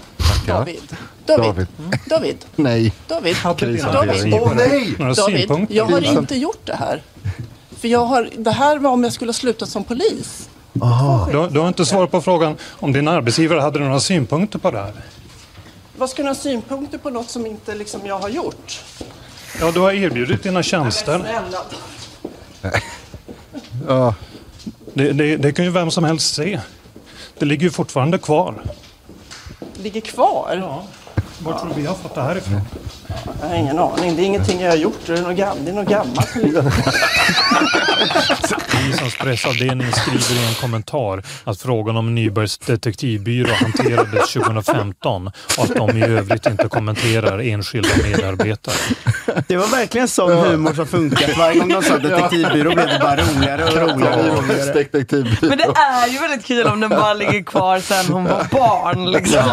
David. David. David.
Nej.
Nej. David.
Krishantering. Åh, nej! Några
David,
synpunkter?
jag har
Krisen.
inte gjort det här. För jag har, det här var om jag skulle ha slutat som polis.
Du, du har inte svarat på frågan om din arbetsgivare hade några synpunkter på det här.
Vad ska ni ha synpunkter på något som inte liksom jag har gjort?
Ja, du har erbjudit dina tjänster.
Snälla.
Ja. Det, det, det kan ju vem som helst se. Det ligger ju fortfarande kvar.
Ligger kvar?
Var tror du vi har fått det här ifrån?
Jag har ingen aning. Det är ingenting jag har gjort. Det är något gammalt. Det är något gammalt. som ligger-
Polisens pressavdelning skriver i en kommentar att frågan om Nybergs detektivbyrå hanterades 2015 och att de i övrigt inte kommenterar enskilda medarbetare.
Det var verkligen sån humor som funkat. Varje gång de sa detektivbyrå blev det bara roligare och roligare. Och roligare.
Detektivbyrå.
Men det är ju väldigt kul om den bara ligger kvar sen hon var barn. Liksom.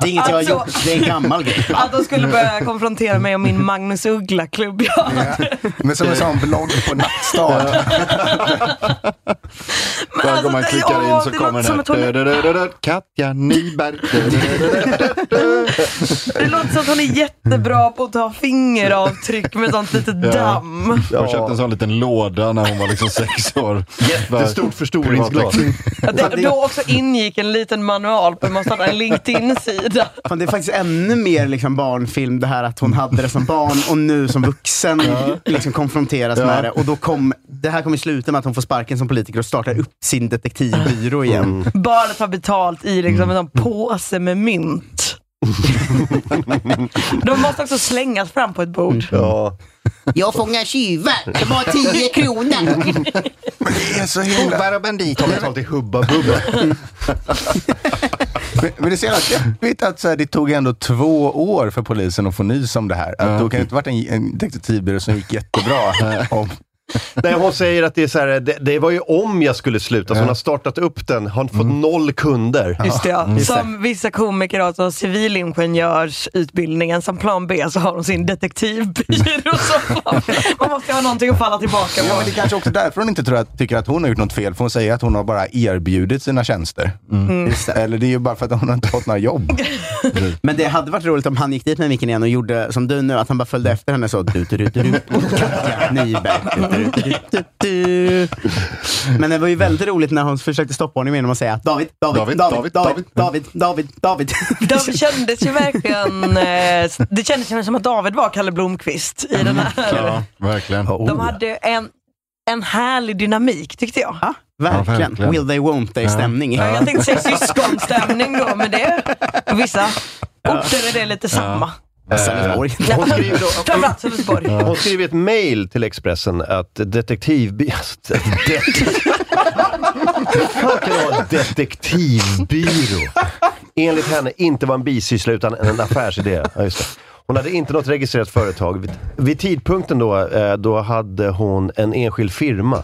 Det är inget jag har
Alltså-
gjort, det är en gammal grej.
Att de skulle börja konfrontera mig och min Magnus Uggla-klubb. Ja.
Men som en sån blogg på Nattstad.
Varje gång man
alltså, det-
klickar
åh,
in så
det
kommer
låter som
den
att hon-
här. Dö-dö-dö-dö-dö, Katja Nyberg. Dö-dö-dö-dö.
Det låter som att hon är jättebra på att ta fingeravtryck med sånt litet damm.
Jag köpte en sån liten låda när hon var liksom sex år.
Jättestort förstoringsglas.
Att det då också ingick en liten manual på hur man startar en LinkedIn-sida.
Fan, det är faktiskt ännu mer liksom barnfilm det här att hon hade det som barn och nu som vuxen liksom konfronteras
Ja.
med det. Och då kom, det här kommer sluta med att hon får sparken som politiker och startar upp sin detektivbyrå igen.
Mm. Barnet har betalt i liksom en sån påse med mynt. De måste också slängas fram på ett bord.
Ja.
Mm. Jag fångar tjuvar, de har 10 kronor.
Det är så himla...
Hovar och banditer.
Ta betalt i Hubba Bubba.
Men- Men det är så jävla deppigt att så här, det tog ändå två år för polisen att få nys om det här. Att Då kan det inte varit en, en detektivbyrå som gick jättebra. om,
Nej, hon säger att det är så här, det, det var ju om jag skulle sluta, så hon har startat upp den, har fått noll kunder.
Just det, ja.
Mm.
Som vissa komiker har så har civilingenjörsutbildningen som plan B så har de sin detektivbyrå. som plan B. Man måste ju ha någonting att falla tillbaka
ja,
på.
men det är kanske också därför hon inte tror att, tycker att hon har gjort något fel, för hon säger att hon har bara erbjudit sina tjänster.
Mm.
Eller det är ju bara för att hon har inte fått några jobb.
Men det hade varit roligt om han gick dit med micken igen och gjorde som du nu, att han bara följde efter henne så. Du, du, du, du, du, Katja Nyberg. Du, du, du, du, du, du. Men det var ju väldigt roligt när hon försökte stoppa honom genom att säga David, David, David,
David, David,
David, David, David, David.
De kändes ju verkligen... Eh, det kändes ju som att David var Kalle Blomqvist i
Mm.
den här.
Ja, verkligen.
Oh,
De hade en, en härlig dynamik tyckte jag.
Ja,
Verkligen.
verkligen.
Will they, won't they stämning.
Ja, Jag tänkte säga syskonstämning då, men det är på vissa orter är det lite samma.
Sölvesborg.
Eh, Hon skriver då-
Framförallt Sölvesborg.
Hon skriver i ett mejl till Expressen att detektivby... Det... Hur fan kan det vara detektivbyrå? Enligt henne inte var en bisyssla utan en affärsidé. Ja, just det. Hon hade inte något registrerat företag. Vid, vid tidpunkten då, eh, då hade hon en enskild firma.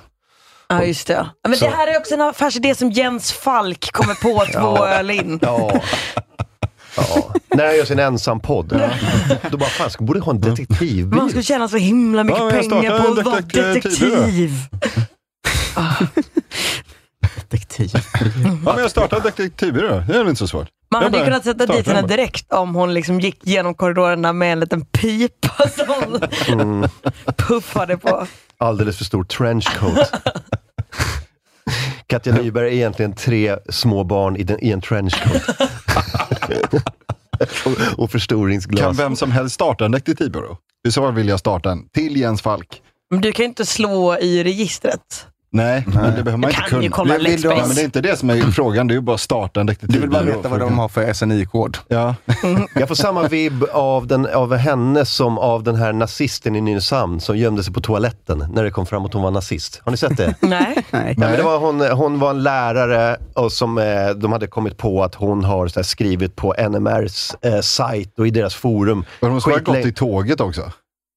Ja, just det. Ja, Men det här är också en affärsidé som Jens Falk kommer på eh, två öl in.
Ja. ja. När jag gör sin ensam podd. Då bara, fan, ska- borde ha en detektivbyrå.
Man skulle tjäna så himla mycket
Ja, men jag
pengar
startar
på
en
att vara
detektiv-
detektiv.
Ja, men jag startar detektivbyrå. Det är väl inte så svårt.
Man
Jag
hade ju
bara
kunnat sätta
startar
dit henne
den
direkt om hon liksom gick genom korridorerna med en liten pipa som hon
Mm.
puffade på.
Alldeles för stor trenchcoat. Katja Nyberg är egentligen tre små barn i, den, i en trenchcoat. och, och förstoringsglas.
Kan vem som helst starta en detektivbyrå? I så fall vill jag starta en till Jens Falk.
Men du kan ju inte slå i registret.
Nej, men det behöver man
Du
inte
kan
kunna.
ju kolla
Vill- vill du-
Lexbase.
men det är inte det som är frågan, det är ju bara att starta en detektivbyrå.
Mm. Du vill bara veta vad de har
för SNI-kod. Ja.
Jag får samma vibb av, den, av henne som av den här nazisten i Nynäshamn som gömde sig på toaletten när det kom fram att hon var nazist. Har ni sett det?
Nej.
Nej. men det var hon, hon var en lärare och som eh, de hade kommit på att hon har så här, skrivit på NMRs eh, sajt och i deras forum.
Var det hon som hade
Skitlänge-
gått i tåget också? Eh,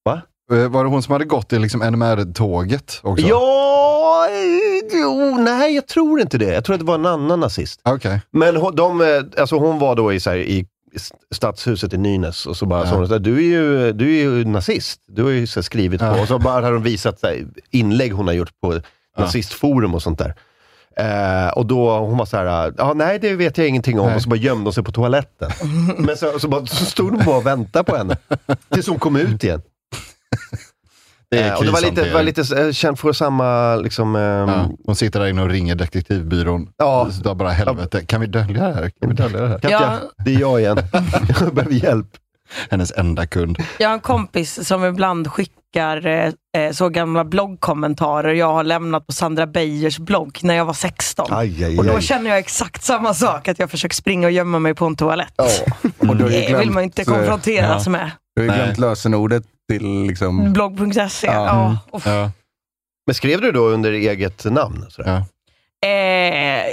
Va?
Var det hon som hade gått i liksom NMR-tåget också?
Ja, eh, jo, nej jag tror inte det. Jag tror att det var en annan nazist.
Okay.
Men hon, de, eh, alltså hon var då i, så här, i st- stadshuset i Nynäs och så bara sa hon så här, du är ju, du är ju nazist. Du har ju så här, skrivit på. Och så bara hade hon visat så här, inlägg hon har gjort på nazistforum och sånt där. Eh, och då hon var så här, eh, ja nej det vet jag ingenting om. Och så bara gömde hon sig på toaletten. Men så, så, bara, så stod hon bara och väntade på henne. Tills hon kom ut igen.
Det,
Eh, och det var lite, var lite eh, känd för samma... Liksom,
ja, hon sitter där inne och ringer detektivbyrån. Ja. Så där bara helvete, kan vi dölja det här? Kan vi dölja det här?
Katja, Ja.
det är jag igen. Jag behöver hjälp.
Hennes enda kund.
Jag har en kompis som ibland skickar eh, eh, så gamla bloggkommentarer jag har lämnat på Sandra Beijers blogg när jag var 16.
Aj, aj,
Och då
aj.
känner jag exakt samma sak, att jag försöker springa och gömma mig på en toalett.
Och du har ju
Det vill man inte konfronteras med.
Du har ju
Nej.
glömt lösenordet till liksom...
Blogg.se.
Mm.
Ja. uff.
Men skrev du då under eget namn? Sådär?
Eh,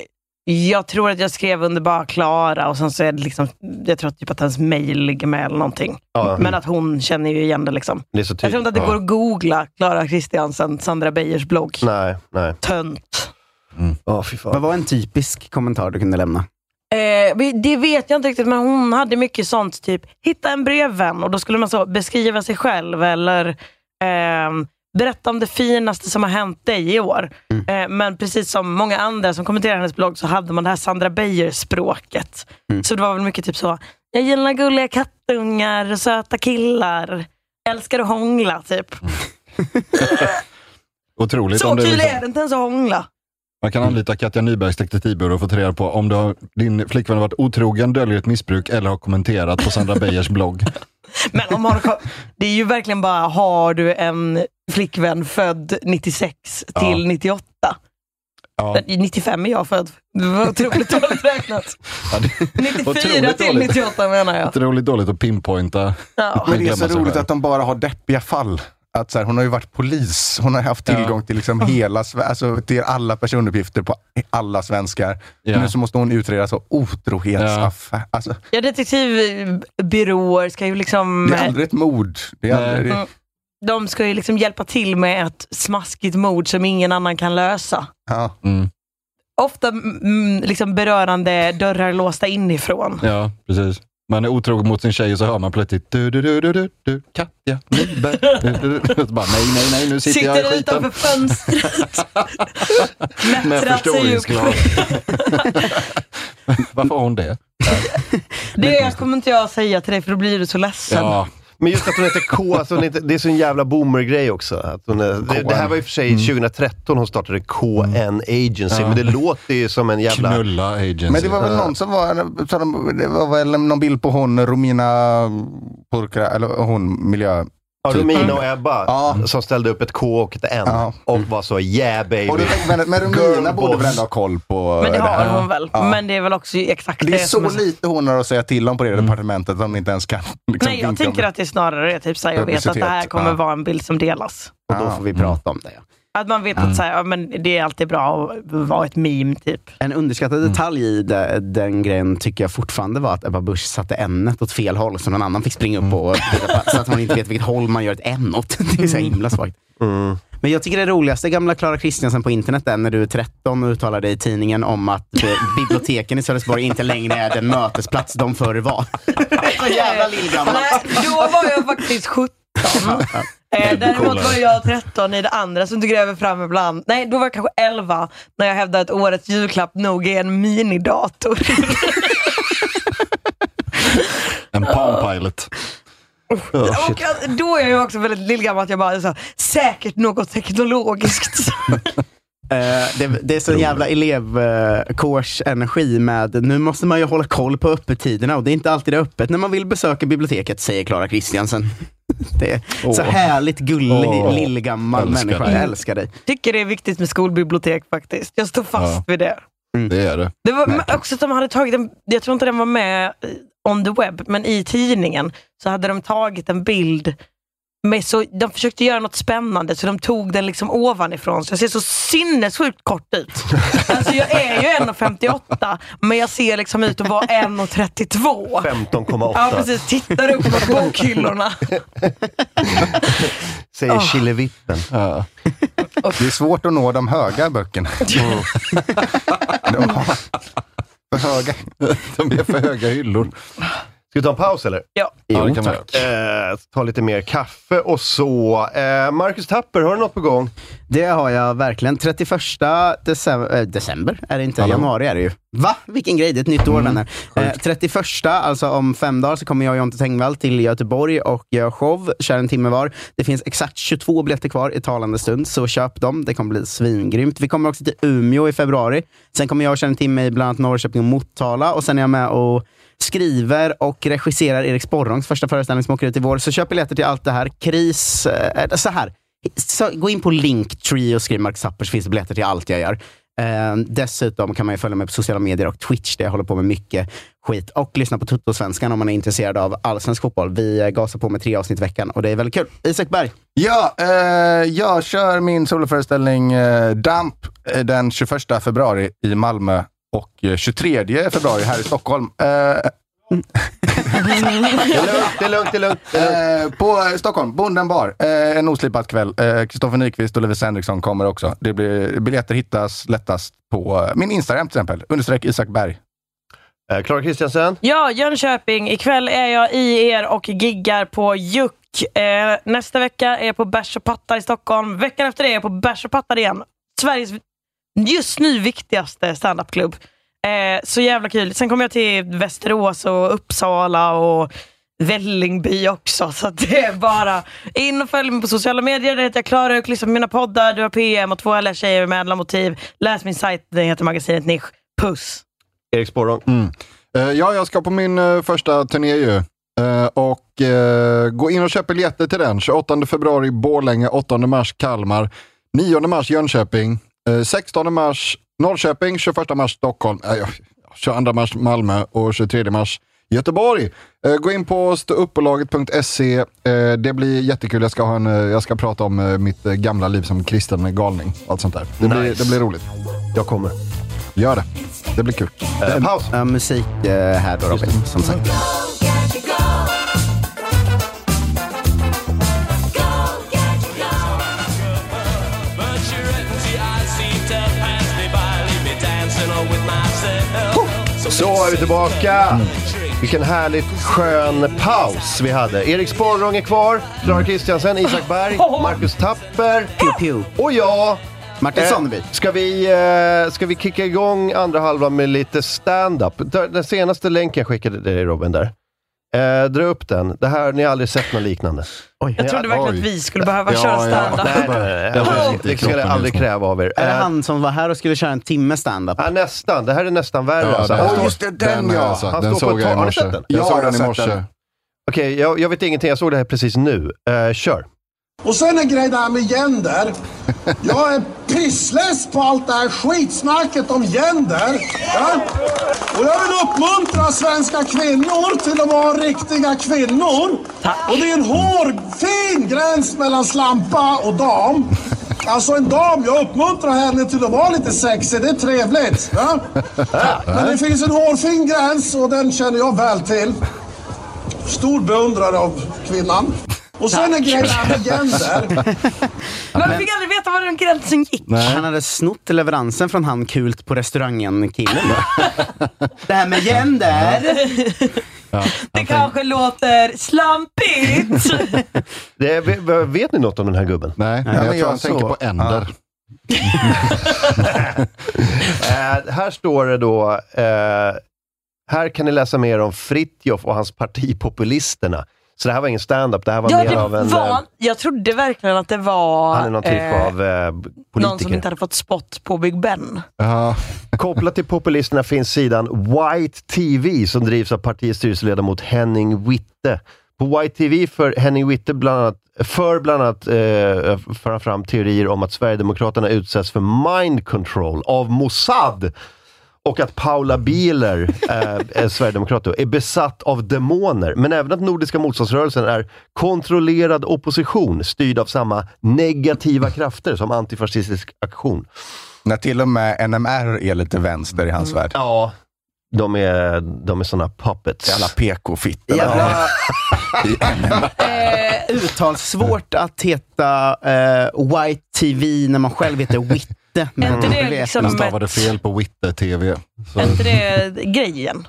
jag tror att jag skrev under bara Klara och sen så är det liksom, jag tror typ att hennes mail ligger med eller någonting.
Ja.
Men att hon känner ju igen det liksom.
Det är så
Jag tror inte att det
tydligt.
går att googla Klara Kristiansen, Sandra Beijers blogg.
Nej, nej.
Tönt.
Mm.
Vad var en typisk kommentar du kunde lämna?
Eh, men det vet jag inte riktigt, men hon hade mycket sånt, typ hitta en brevvän och då skulle man så beskriva sig själv eller ehm, berätta om det finaste som har hänt dig i år.
Mm.
Eh, men precis som många andra som kommenterar hennes blogg så hade man det här Sandra Beijer-språket.
Mm.
Så det var väl mycket typ så, jag gillar gulliga kattungar, och söta killar, älskar att hångla, typ.
Mm.
Otroligt.
Så
om det
kul
liksom-
är det inte ens att hångla.
Man kan anlita Katja Nybergs detektivbyrå och få ta reda på om du har, din flickvän har varit otrogen, döljer ett missbruk eller har kommenterat på Sandra Beijers blogg.
Men om man, det är ju verkligen bara, har du en flickvän född 96
Ja.
till 98?
Ja.
I 95 är jag född. Det var otroligt dåligt räknat. 94
Otroligt
till
dåligt.
98 menar jag.
Otroligt dåligt att pinpointa.
Ja.
Men det är
Glömma
så
sig
roligt
själv.
att de bara har deppiga fall. Att så här, hon har ju varit polis. Hon har haft tillgång till liksom hela, Sve- alltså, till alla personuppgifter på alla svenskar.
Ja.
Nu så måste hon utreda så otrohetsaffär. Alltså,
Ja, detektivbyråer ska ju liksom...
det är aldrig ett mord. Det är aldrig, det,
Mm. De ska ju liksom hjälpa till med ett smaskigt mord som ingen annan kan lösa.
ja.
Ofta mm, liksom berörande dörrar låsta inifrån.
Ja, precis. Man är otrogen mot sin tjej och så hör man plötsligt du, du, du, du, du, du Katja Nyberg. Du, du, du. Och så bara, nej, nej, nej, nu sitter, jag i skiten.
utanför fönstret.
Med
Mättrat sig upp.
förstoringsglas. Varför har hon det?
Det kommer inte jag säga till dig för då blir du så ledsen.
Men just att hon heter K, alltså hon heter, det är så en jävla boomer-grej också. Att hon, är- det, det här var i och för
Mm.
sig 2013 hon startade KN Agency,
Ja.
men det låter ju som en jävla...
Knulla agency.
Men det var väl någon som var, så de, det var väl någon bild på hon, Romina Purkra, eller hon miljö...
Ja, Romina och Ebba
typ. Ja.
som ställde upp ett K och ett N och var så yeah baby.
Och då tänkte man att- men Romina borde väl ändå ha koll på
Men det har
här.
hon väl.
Ja.
Men det är väl också exakt
Det är
som
så lite hon har att säga till om på det
Mm.
departementet som ni inte ens kan liksom,
Nej, jag
vinka om
tänker
det.
att det snarare är typ såhär, jag vet att det här
Publicitet,
kommer
ja.
vara en bild som delas.
Och då får
Mm.
vi Ah. prata om det. ja.
Att man
Mm.
vet att såhär, ja, men det är alltid bra att vara ett meme typ.
En underskattad detalj i de, den grejen tycker jag fortfarande var att Ebba Busch satte ämnet åt fel håll så någon annan fick springa upp och peta på, så att man inte vet vilket håll man gör ett N åt. Det är så himla svagt. Men jag tycker det roligaste gamla Klara Kristiansen på internet är när du är 13 och uttalar dig i tidningen om att eh, biblioteken i Sölvesborg inte längre är den mötesplats de förr var.
Så jävla lillgammal. Då var jag faktiskt 17. Eh, Däremot
Coolare.
var jag 13 i det andra som du gräver fram ibland. Nej, då var jag kanske 11 när jag hävdade att årets julklapp nog är en minidator.
En Palm Pilot.
och jag, då är jag ju också väldigt lillgammal att jag bara, så, säkert något teknologiskt.
Eh, det, det är så jävla elevkårsenergi med, nu måste man ju hålla koll på öppettiderna och det är inte alltid det är öppet när man vill besöka biblioteket, säger Klara Kristiansen. Det är så
Åh.
härligt gullig,
Åh.
lillgammal
Älskar
människa.
dig.
Jag älskar dig.
Tycker det är viktigt med skolbibliotek faktiskt. Jag står fast
Ja.
vid det.
Det är det.
Det var men också att de hade tagit en, jag tror inte den var med eh, on the web, men i tidningen så hade de tagit en bild med så, de försökte göra något spännande så de tog den liksom ovanifrån så jag ser så sinnessjukt kort ut. Alltså jag är ju 1,58 men jag ser liksom ut att vara 1,32.
15,8.
Ja precis, tittar upp mot bokhyllorna.
Säger
Ah.
Killevippen.
Det är svårt att nå de höga böckerna.
För höga.
De är för höga hyllor.
Ska vi ta en paus eller?
Ja.
Ja, det kan vi
Eh, ta lite mer kaffe och så. Eh, Marcus Tapper, har du något på gång?
Det har jag verkligen. 31 december, eh, december är det inte,
Hallå?
januari är det ju. Va? Vilken grej, det är ett nytt år vänner. Eh, 31, alltså om fem dagar, så kommer jag och Jonte Tengvall till Göteborg och gör show, kör en timme var. Det finns exakt 22 biljetter kvar i talande stund, så köp dem. Det kommer bli svingrymt. Vi kommer också till Umeå i februari. Sen kommer jag och köra en timme i bland annat Norrköping och Motala och sen är jag med och skriver och regisserar Erik Sporrongs första föreställning som åker ut i vår. Så köp biljetter till allt det här. Kris, eh, så här. Så gå in på Linktree och skriv Mark Zappers, finns det biljetter till allt jag gör. Eh, dessutom kan man ju följa mig på sociala medier och Twitch, där jag håller på med mycket skit. Och lyssna på Tuttosvenskan om man är intresserad av allsvensk fotboll. Vi eh, gasar på med tre avsnitt i veckan och det är väldigt kul. Isak Berg.
Ja, eh, jag kör min soloföreställning eh, Damp eh, den 21 februari i Malmö och eh, 23 februari här i Stockholm. Eh,
Det är lugnt, det är lugnt, det är lugnt. Det är
lugnt. Eh, på eh, Stockholm, Bonden bar. Eh, en oslipad kväll. Kristoffer Nyqvist och Levis Henriksson kommer också. Det blir, biljetter hittas lättast på eh, min Instagram till exempel. Understreck Isak Berg.
Eh, Klara Kristiansen.
Ja, Jönköping. Ikväll är jag i er och giggar på Juck. Eh, nästa vecka är jag på Bärs och pattar i Stockholm. Veckan efter det är jag på Bärs och pattar igen. Sveriges just nu viktigaste standupklubb. Eh, så jävla kul. Sen kommer jag till Västerås och Uppsala och Vällingby också. Så att det är bara in och följ mig på sociala medier. Där heter jag Klara och lyssna på mina poddar. Du har PM och två härliga tjejer med ädla motiv. Läs min sajt. Den heter magasinet Nisch. Puss!
Erik Sporrong.
Mm. Eh, ja, jag ska på min eh, första turné ju. Eh, och eh, gå in och köp biljetter till den. 28 februari Borlänge, 8 mars Kalmar, 9 mars Jönköping, eh, 16 mars Norrköping, 21 mars Stockholm, eh, ja, 22 mars Malmö och 23 mars Göteborg. Eh, gå in på ståuppbolaget.se. Eh, det blir jättekul. Jag ska, ha en, eh, jag ska prata om eh, mitt eh, gamla liv som kristen galning och allt sånt där. Det, blir,
Nice.
det blir roligt.
Jag kommer.
Gör det. Det blir kul.
Eh, eh, musik eh, här då Robin, som sagt.
Så är vi tillbaka. Vilken härligt skön paus vi hade. Erik Sporrong är kvar, Klara Kristiansen, Isak Berg, Marcus Tapper och jag.
Martin
Eh.
Sonneby.
Ska vi, eh, ska vi kicka igång andra halvan med lite stand-up? Där- Den senaste länken jag skickade dig Robin där. Eh, dra upp den. Det här, ni har aldrig sett något liknande.
Jag trodde verkligen att vi skulle behöva köra standard.
Det, det ska jag aldrig kräva av er.
Är det
Eh,
han som var här och skulle köra en timme standup?
Ja, nästan. Det här är nästan värre.
Ja,
alltså.
det-
Han
Åh,
står-
just det, den, ja.
alltså-
har jag sett.
Han står
Han står
på
på
ett
ett
tak.
Har ni sett den?
Ja, jag har sett
den.
Okej, jag, jag vet ingenting. Jag såg det här precis nu. Eh, kör.
Och sen en grej där med gender. Jag är pissless på allt det här skitsnacket om gender. Ja? Och jag vill uppmuntra svenska kvinnor till att vara riktiga kvinnor. Och det är en hårfin gräns mellan slampa och dam. Alltså en dam, jag uppmuntrar henne till att vara lite sexig, det är trevligt. Ja? Men det finns en hårfin gräns och den känner jag väl till. Stor beundrare av kvinnan. Och sen en grej där med gender.
Men vi fick aldrig veta var den gränsen gick.
Han hade snott leveransen från han Kult på restaurangen-killen. då. det här med gender.
Det kanske låter slampigt.
Det, vet, vet ni något om den här gubben?
Nej, men jag tror han tänker på änder.
Eh, här står det då, eh, här kan ni läsa mer om Fritjof och hans parti Populisterna. Så det här var ingen stand-up, det här var
Ja,
mer
det
av en... eh,
var, jag trodde verkligen att det var
Han är någon typ
eh,
av eh,
någon som
politiker.
inte hade fått spott på Big Ben.
Kopplat till populisterna finns sidan White TV som drivs av partiets styrelseledamot Henning Witte. På White TV för Henning Witte bland annat, för bland annat eh, för han fram teorier om att Sverigedemokraterna utsätts för mind control av Mossad och att Paula Bieler, eh, är sverigedemokrat, då, är besatt av demoner. Men även att Nordiska motståndsrörelsen är kontrollerad opposition styrd av samma negativa krafter som antifascistisk aktion.
När till och med NMR är lite vänster i hans värld.
Ja. De är, de är såna puppets.
Jävla PK-fittor.
Jävla- Eh, uttal svårt att heta eh, White TV när man själv heter Witte. Men
Är inte det
vet
liksom
man.
Jag stavade fel på Witte TV. Så.
Är inte det grejen?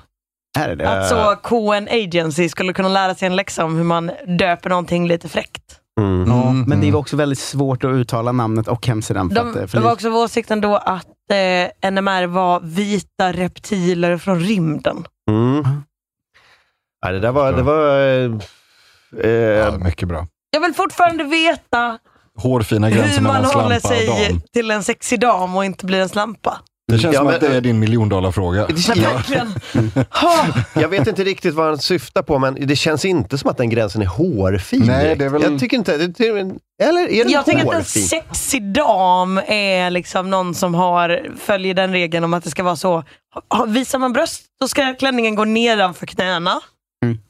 Här är det.
Att så KN Agency skulle kunna lära sig en läxa om hur man döper någonting lite fräckt.
Mm.
Ja,
Mm.
men det var också väldigt svårt att uttala namnet och hemsidan. För att,
De,
eh,
det
för
var
var...
också vår åsikten då att eh, NMR var vita reptiler från rymden.
Mm. Nej, det där var... Det var eh,
mycket bra.
Jag vill fortfarande veta
Hårfina
hur
gränser
man
mellan
håller
slampa och
sig
dam.
till en sexig dam och inte blir en slampa.
Det känns
Ja,
som
men-
att det är din miljondollarfråga.
Verkligen.
Jag vet inte riktigt vad han syftar på, men det känns inte som att den gränsen är hårfin.
Nej,
direkt.
det är väl-
Jag tycker inte... Det, det, eller är den
Jag tänker att en
hårfin?
sexig dam är liksom någon som har, följer den regeln om att det ska vara så. ha- Visar man bröst, då ska klänningen gå nedanför knäna.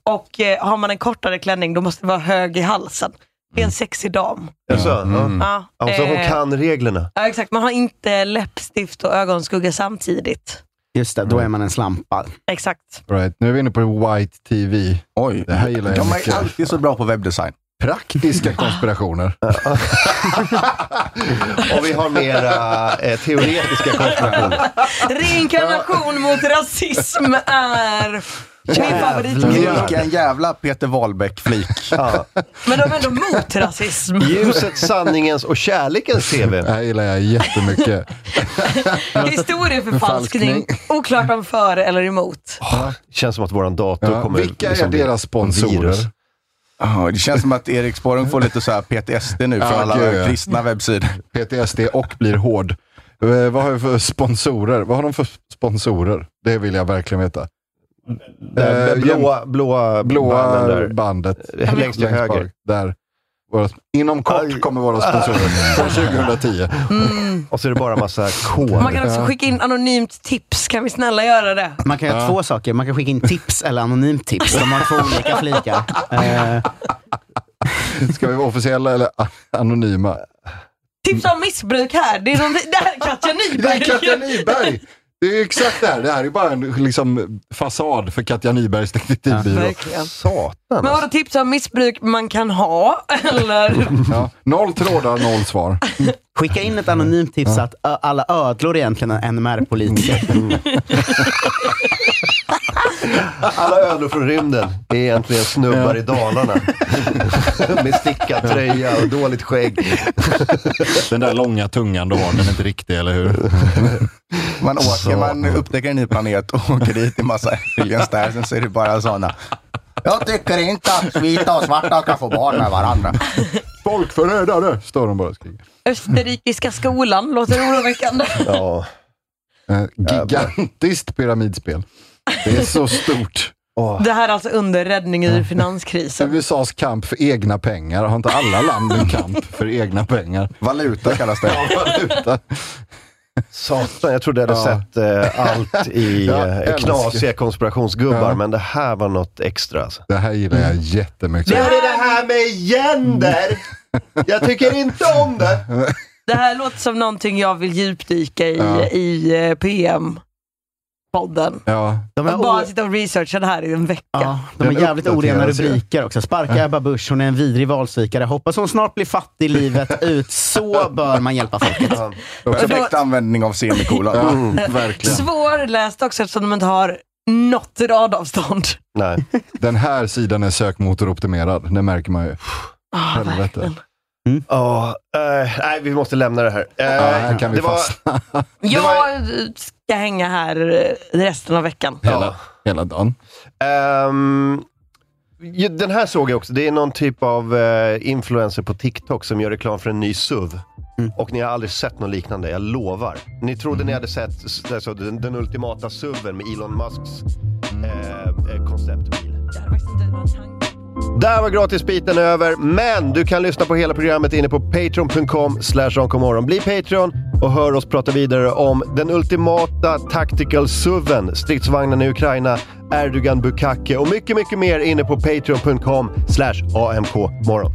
Och eh, har man en kortare klänning, då måste det vara hög i halsen. Det är en sexig dam.
Är det så? Alltså, Ja.
Mm.
Ja,
Ja, så hon
eh,
kan reglerna.
Ja, exakt. Man har inte läppstift och ögonskugga samtidigt.
Just det, då är man en slampa.
Exakt.
Right. Nu är vi inne på White TV.
Oj,
det här gillar jag
de
mycket.
är alltid så bra på webbdesign.
Praktiska konspirationer.
Och vi har mera eh, teoretiska konspirationer.
Reinkarnation mot rasism är min favoritgrej.
Vilken jävla Peter Wahlbeck-flik.
Men de är ändå mot rasism.
Ljuset, sanningens och kärlekens TV.
Det här gillar jag jättemycket.
Historieförfalskning. Oklart om för eller emot.
Känns som att våran dator
Ja,
kommer... liksom
vilka är deras sponsorer?
virus.
liksom Ja, det känns som att Erik Sporrung får lite så här PTSD nu från
Ja,
alla
gud, ja.
kristna webbsidor.
PTSD och blir hård. Eh, vad har vi för sponsorer? Vad har de för sponsorer? Det vill jag verkligen veta.
Eh,
Eh,
blåa, blåa,
blåa
banden där.
bandet.
Eh, längst till höger.
bak, Där. Våra, inom kort kommer våra sponsorer. Från 2010.
Och så är det bara massa kod.
Man kan också skicka in anonymt tips. Kan vi snälla göra det?
Man kan göra två saker. Man kan skicka in tips eller anonymt tips. De har två olika flikar. Eh,
Ska vi vara officiella eller a- anonyma?
Tips om missbruk här. Det är, de, det här är Katja
Det
Nyberg.
är Katja Nyberg! Det är ju exakt det här. Det här är bara en liksom, fasad för Katja Nybergs detektivbyrå.
Verkligen.
Satan.
Men vadå tips om missbruk man kan ha? Eller?
Ja, noll trådar, noll svar.
Skicka in ett anonymt tips att ö, alla ödlor är egentligen är NMR-politiker.
Alla ödlor från rymden är egentligen snubbar i Dalarna. Med stickad tröja och dåligt skägg.
Den där långa tungan du har, den är inte riktig, eller hur?
Man åker,
Så.
man upptäcker en ny planet och åker dit i massa aliens där. Sen så är det bara sådana. Jag tycker inte att vita och svarta kan få barn med varandra.
Folkförrädare, står de bara och skriker.
Österrikiska skolan låter oroväckande.
Ja.
Eh, Gigantiskt pyramidspel. Det är så stort.
Det här är alltså under räddning ur finanskrisen.
USAs kamp för egna pengar. Har inte alla land en kamp för egna pengar?
Valuta kallas det.
Ja, valuta.
Satan, jag trodde jag hade
Ja.
sett eh, allt i
Jag
eh,
älskar-
knasiga konspirationsgubbar,
Ja.
men det här var något extra. alltså.
Det här gillar jag jättemycket.
är det här med gender! Jag tycker inte om det!
Det här låter som någonting jag vill djupdyka i
Ja.
i eh, PM-podden.
Ja,
De
Och
är,
bara
o-
sitta och researcha det här i en vecka.
ja, de är
Den
jävligt orena
uppdateras ju.
rubriker också. Sparka Ebba Busch, hon är en vidrig valsvikare. Hoppas hon snart blir fattig i livet ut. Så bör man hjälpa folket.
Perfekt användning av semikolon.
verkligen. Ah,
Svårläst också eftersom de inte har något radavstånd.
Nej.
Den här sidan är sökmotoroptimerad, det märker man ju. Helvete.
Ja, eh, nej, vi måste lämna det här. Eh,
här kan vi
det var,
Jag ska hänga här eh, resten av veckan.
Hela, hela dagen.
Ehm, ju- den här såg jag också. Det är någon typ av eh, influencer på TikTok som gör reklam för en ny SUV.
Mm.
Och ni har aldrig sett något liknande, jag lovar. Ni trodde ni hade sett s- alltså, den, den ultimata SUVen med Elon Musks eh, eh, konceptbil. Där var gratisbiten över, men du kan lyssna på hela programmet inne på patreon.com slash onkomorron. Bli Patreon och hör oss prata vidare om den ultimata tactical suven, stridsvagnen i Ukraina, Erdogan Bukake och mycket, mycket mer inne på patreon.com slash amkmorgon.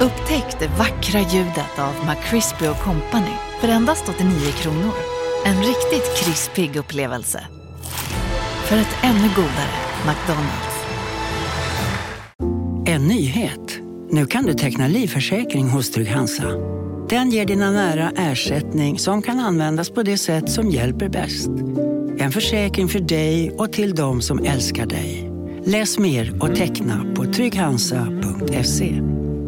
Upptäck det vackra ljudet av McCrispy Company för endast 89 kronor. En riktigt krispig upplevelse. För ett ännu godare McDonalds.
En nyhet. Nu kan du teckna livförsäkring hos Trygg-Hansa. Den ger dina nära ersättning som kan användas på det sätt som hjälper bäst. En försäkring för dig och till de som älskar dig. Läs mer och teckna på trygghansa.se.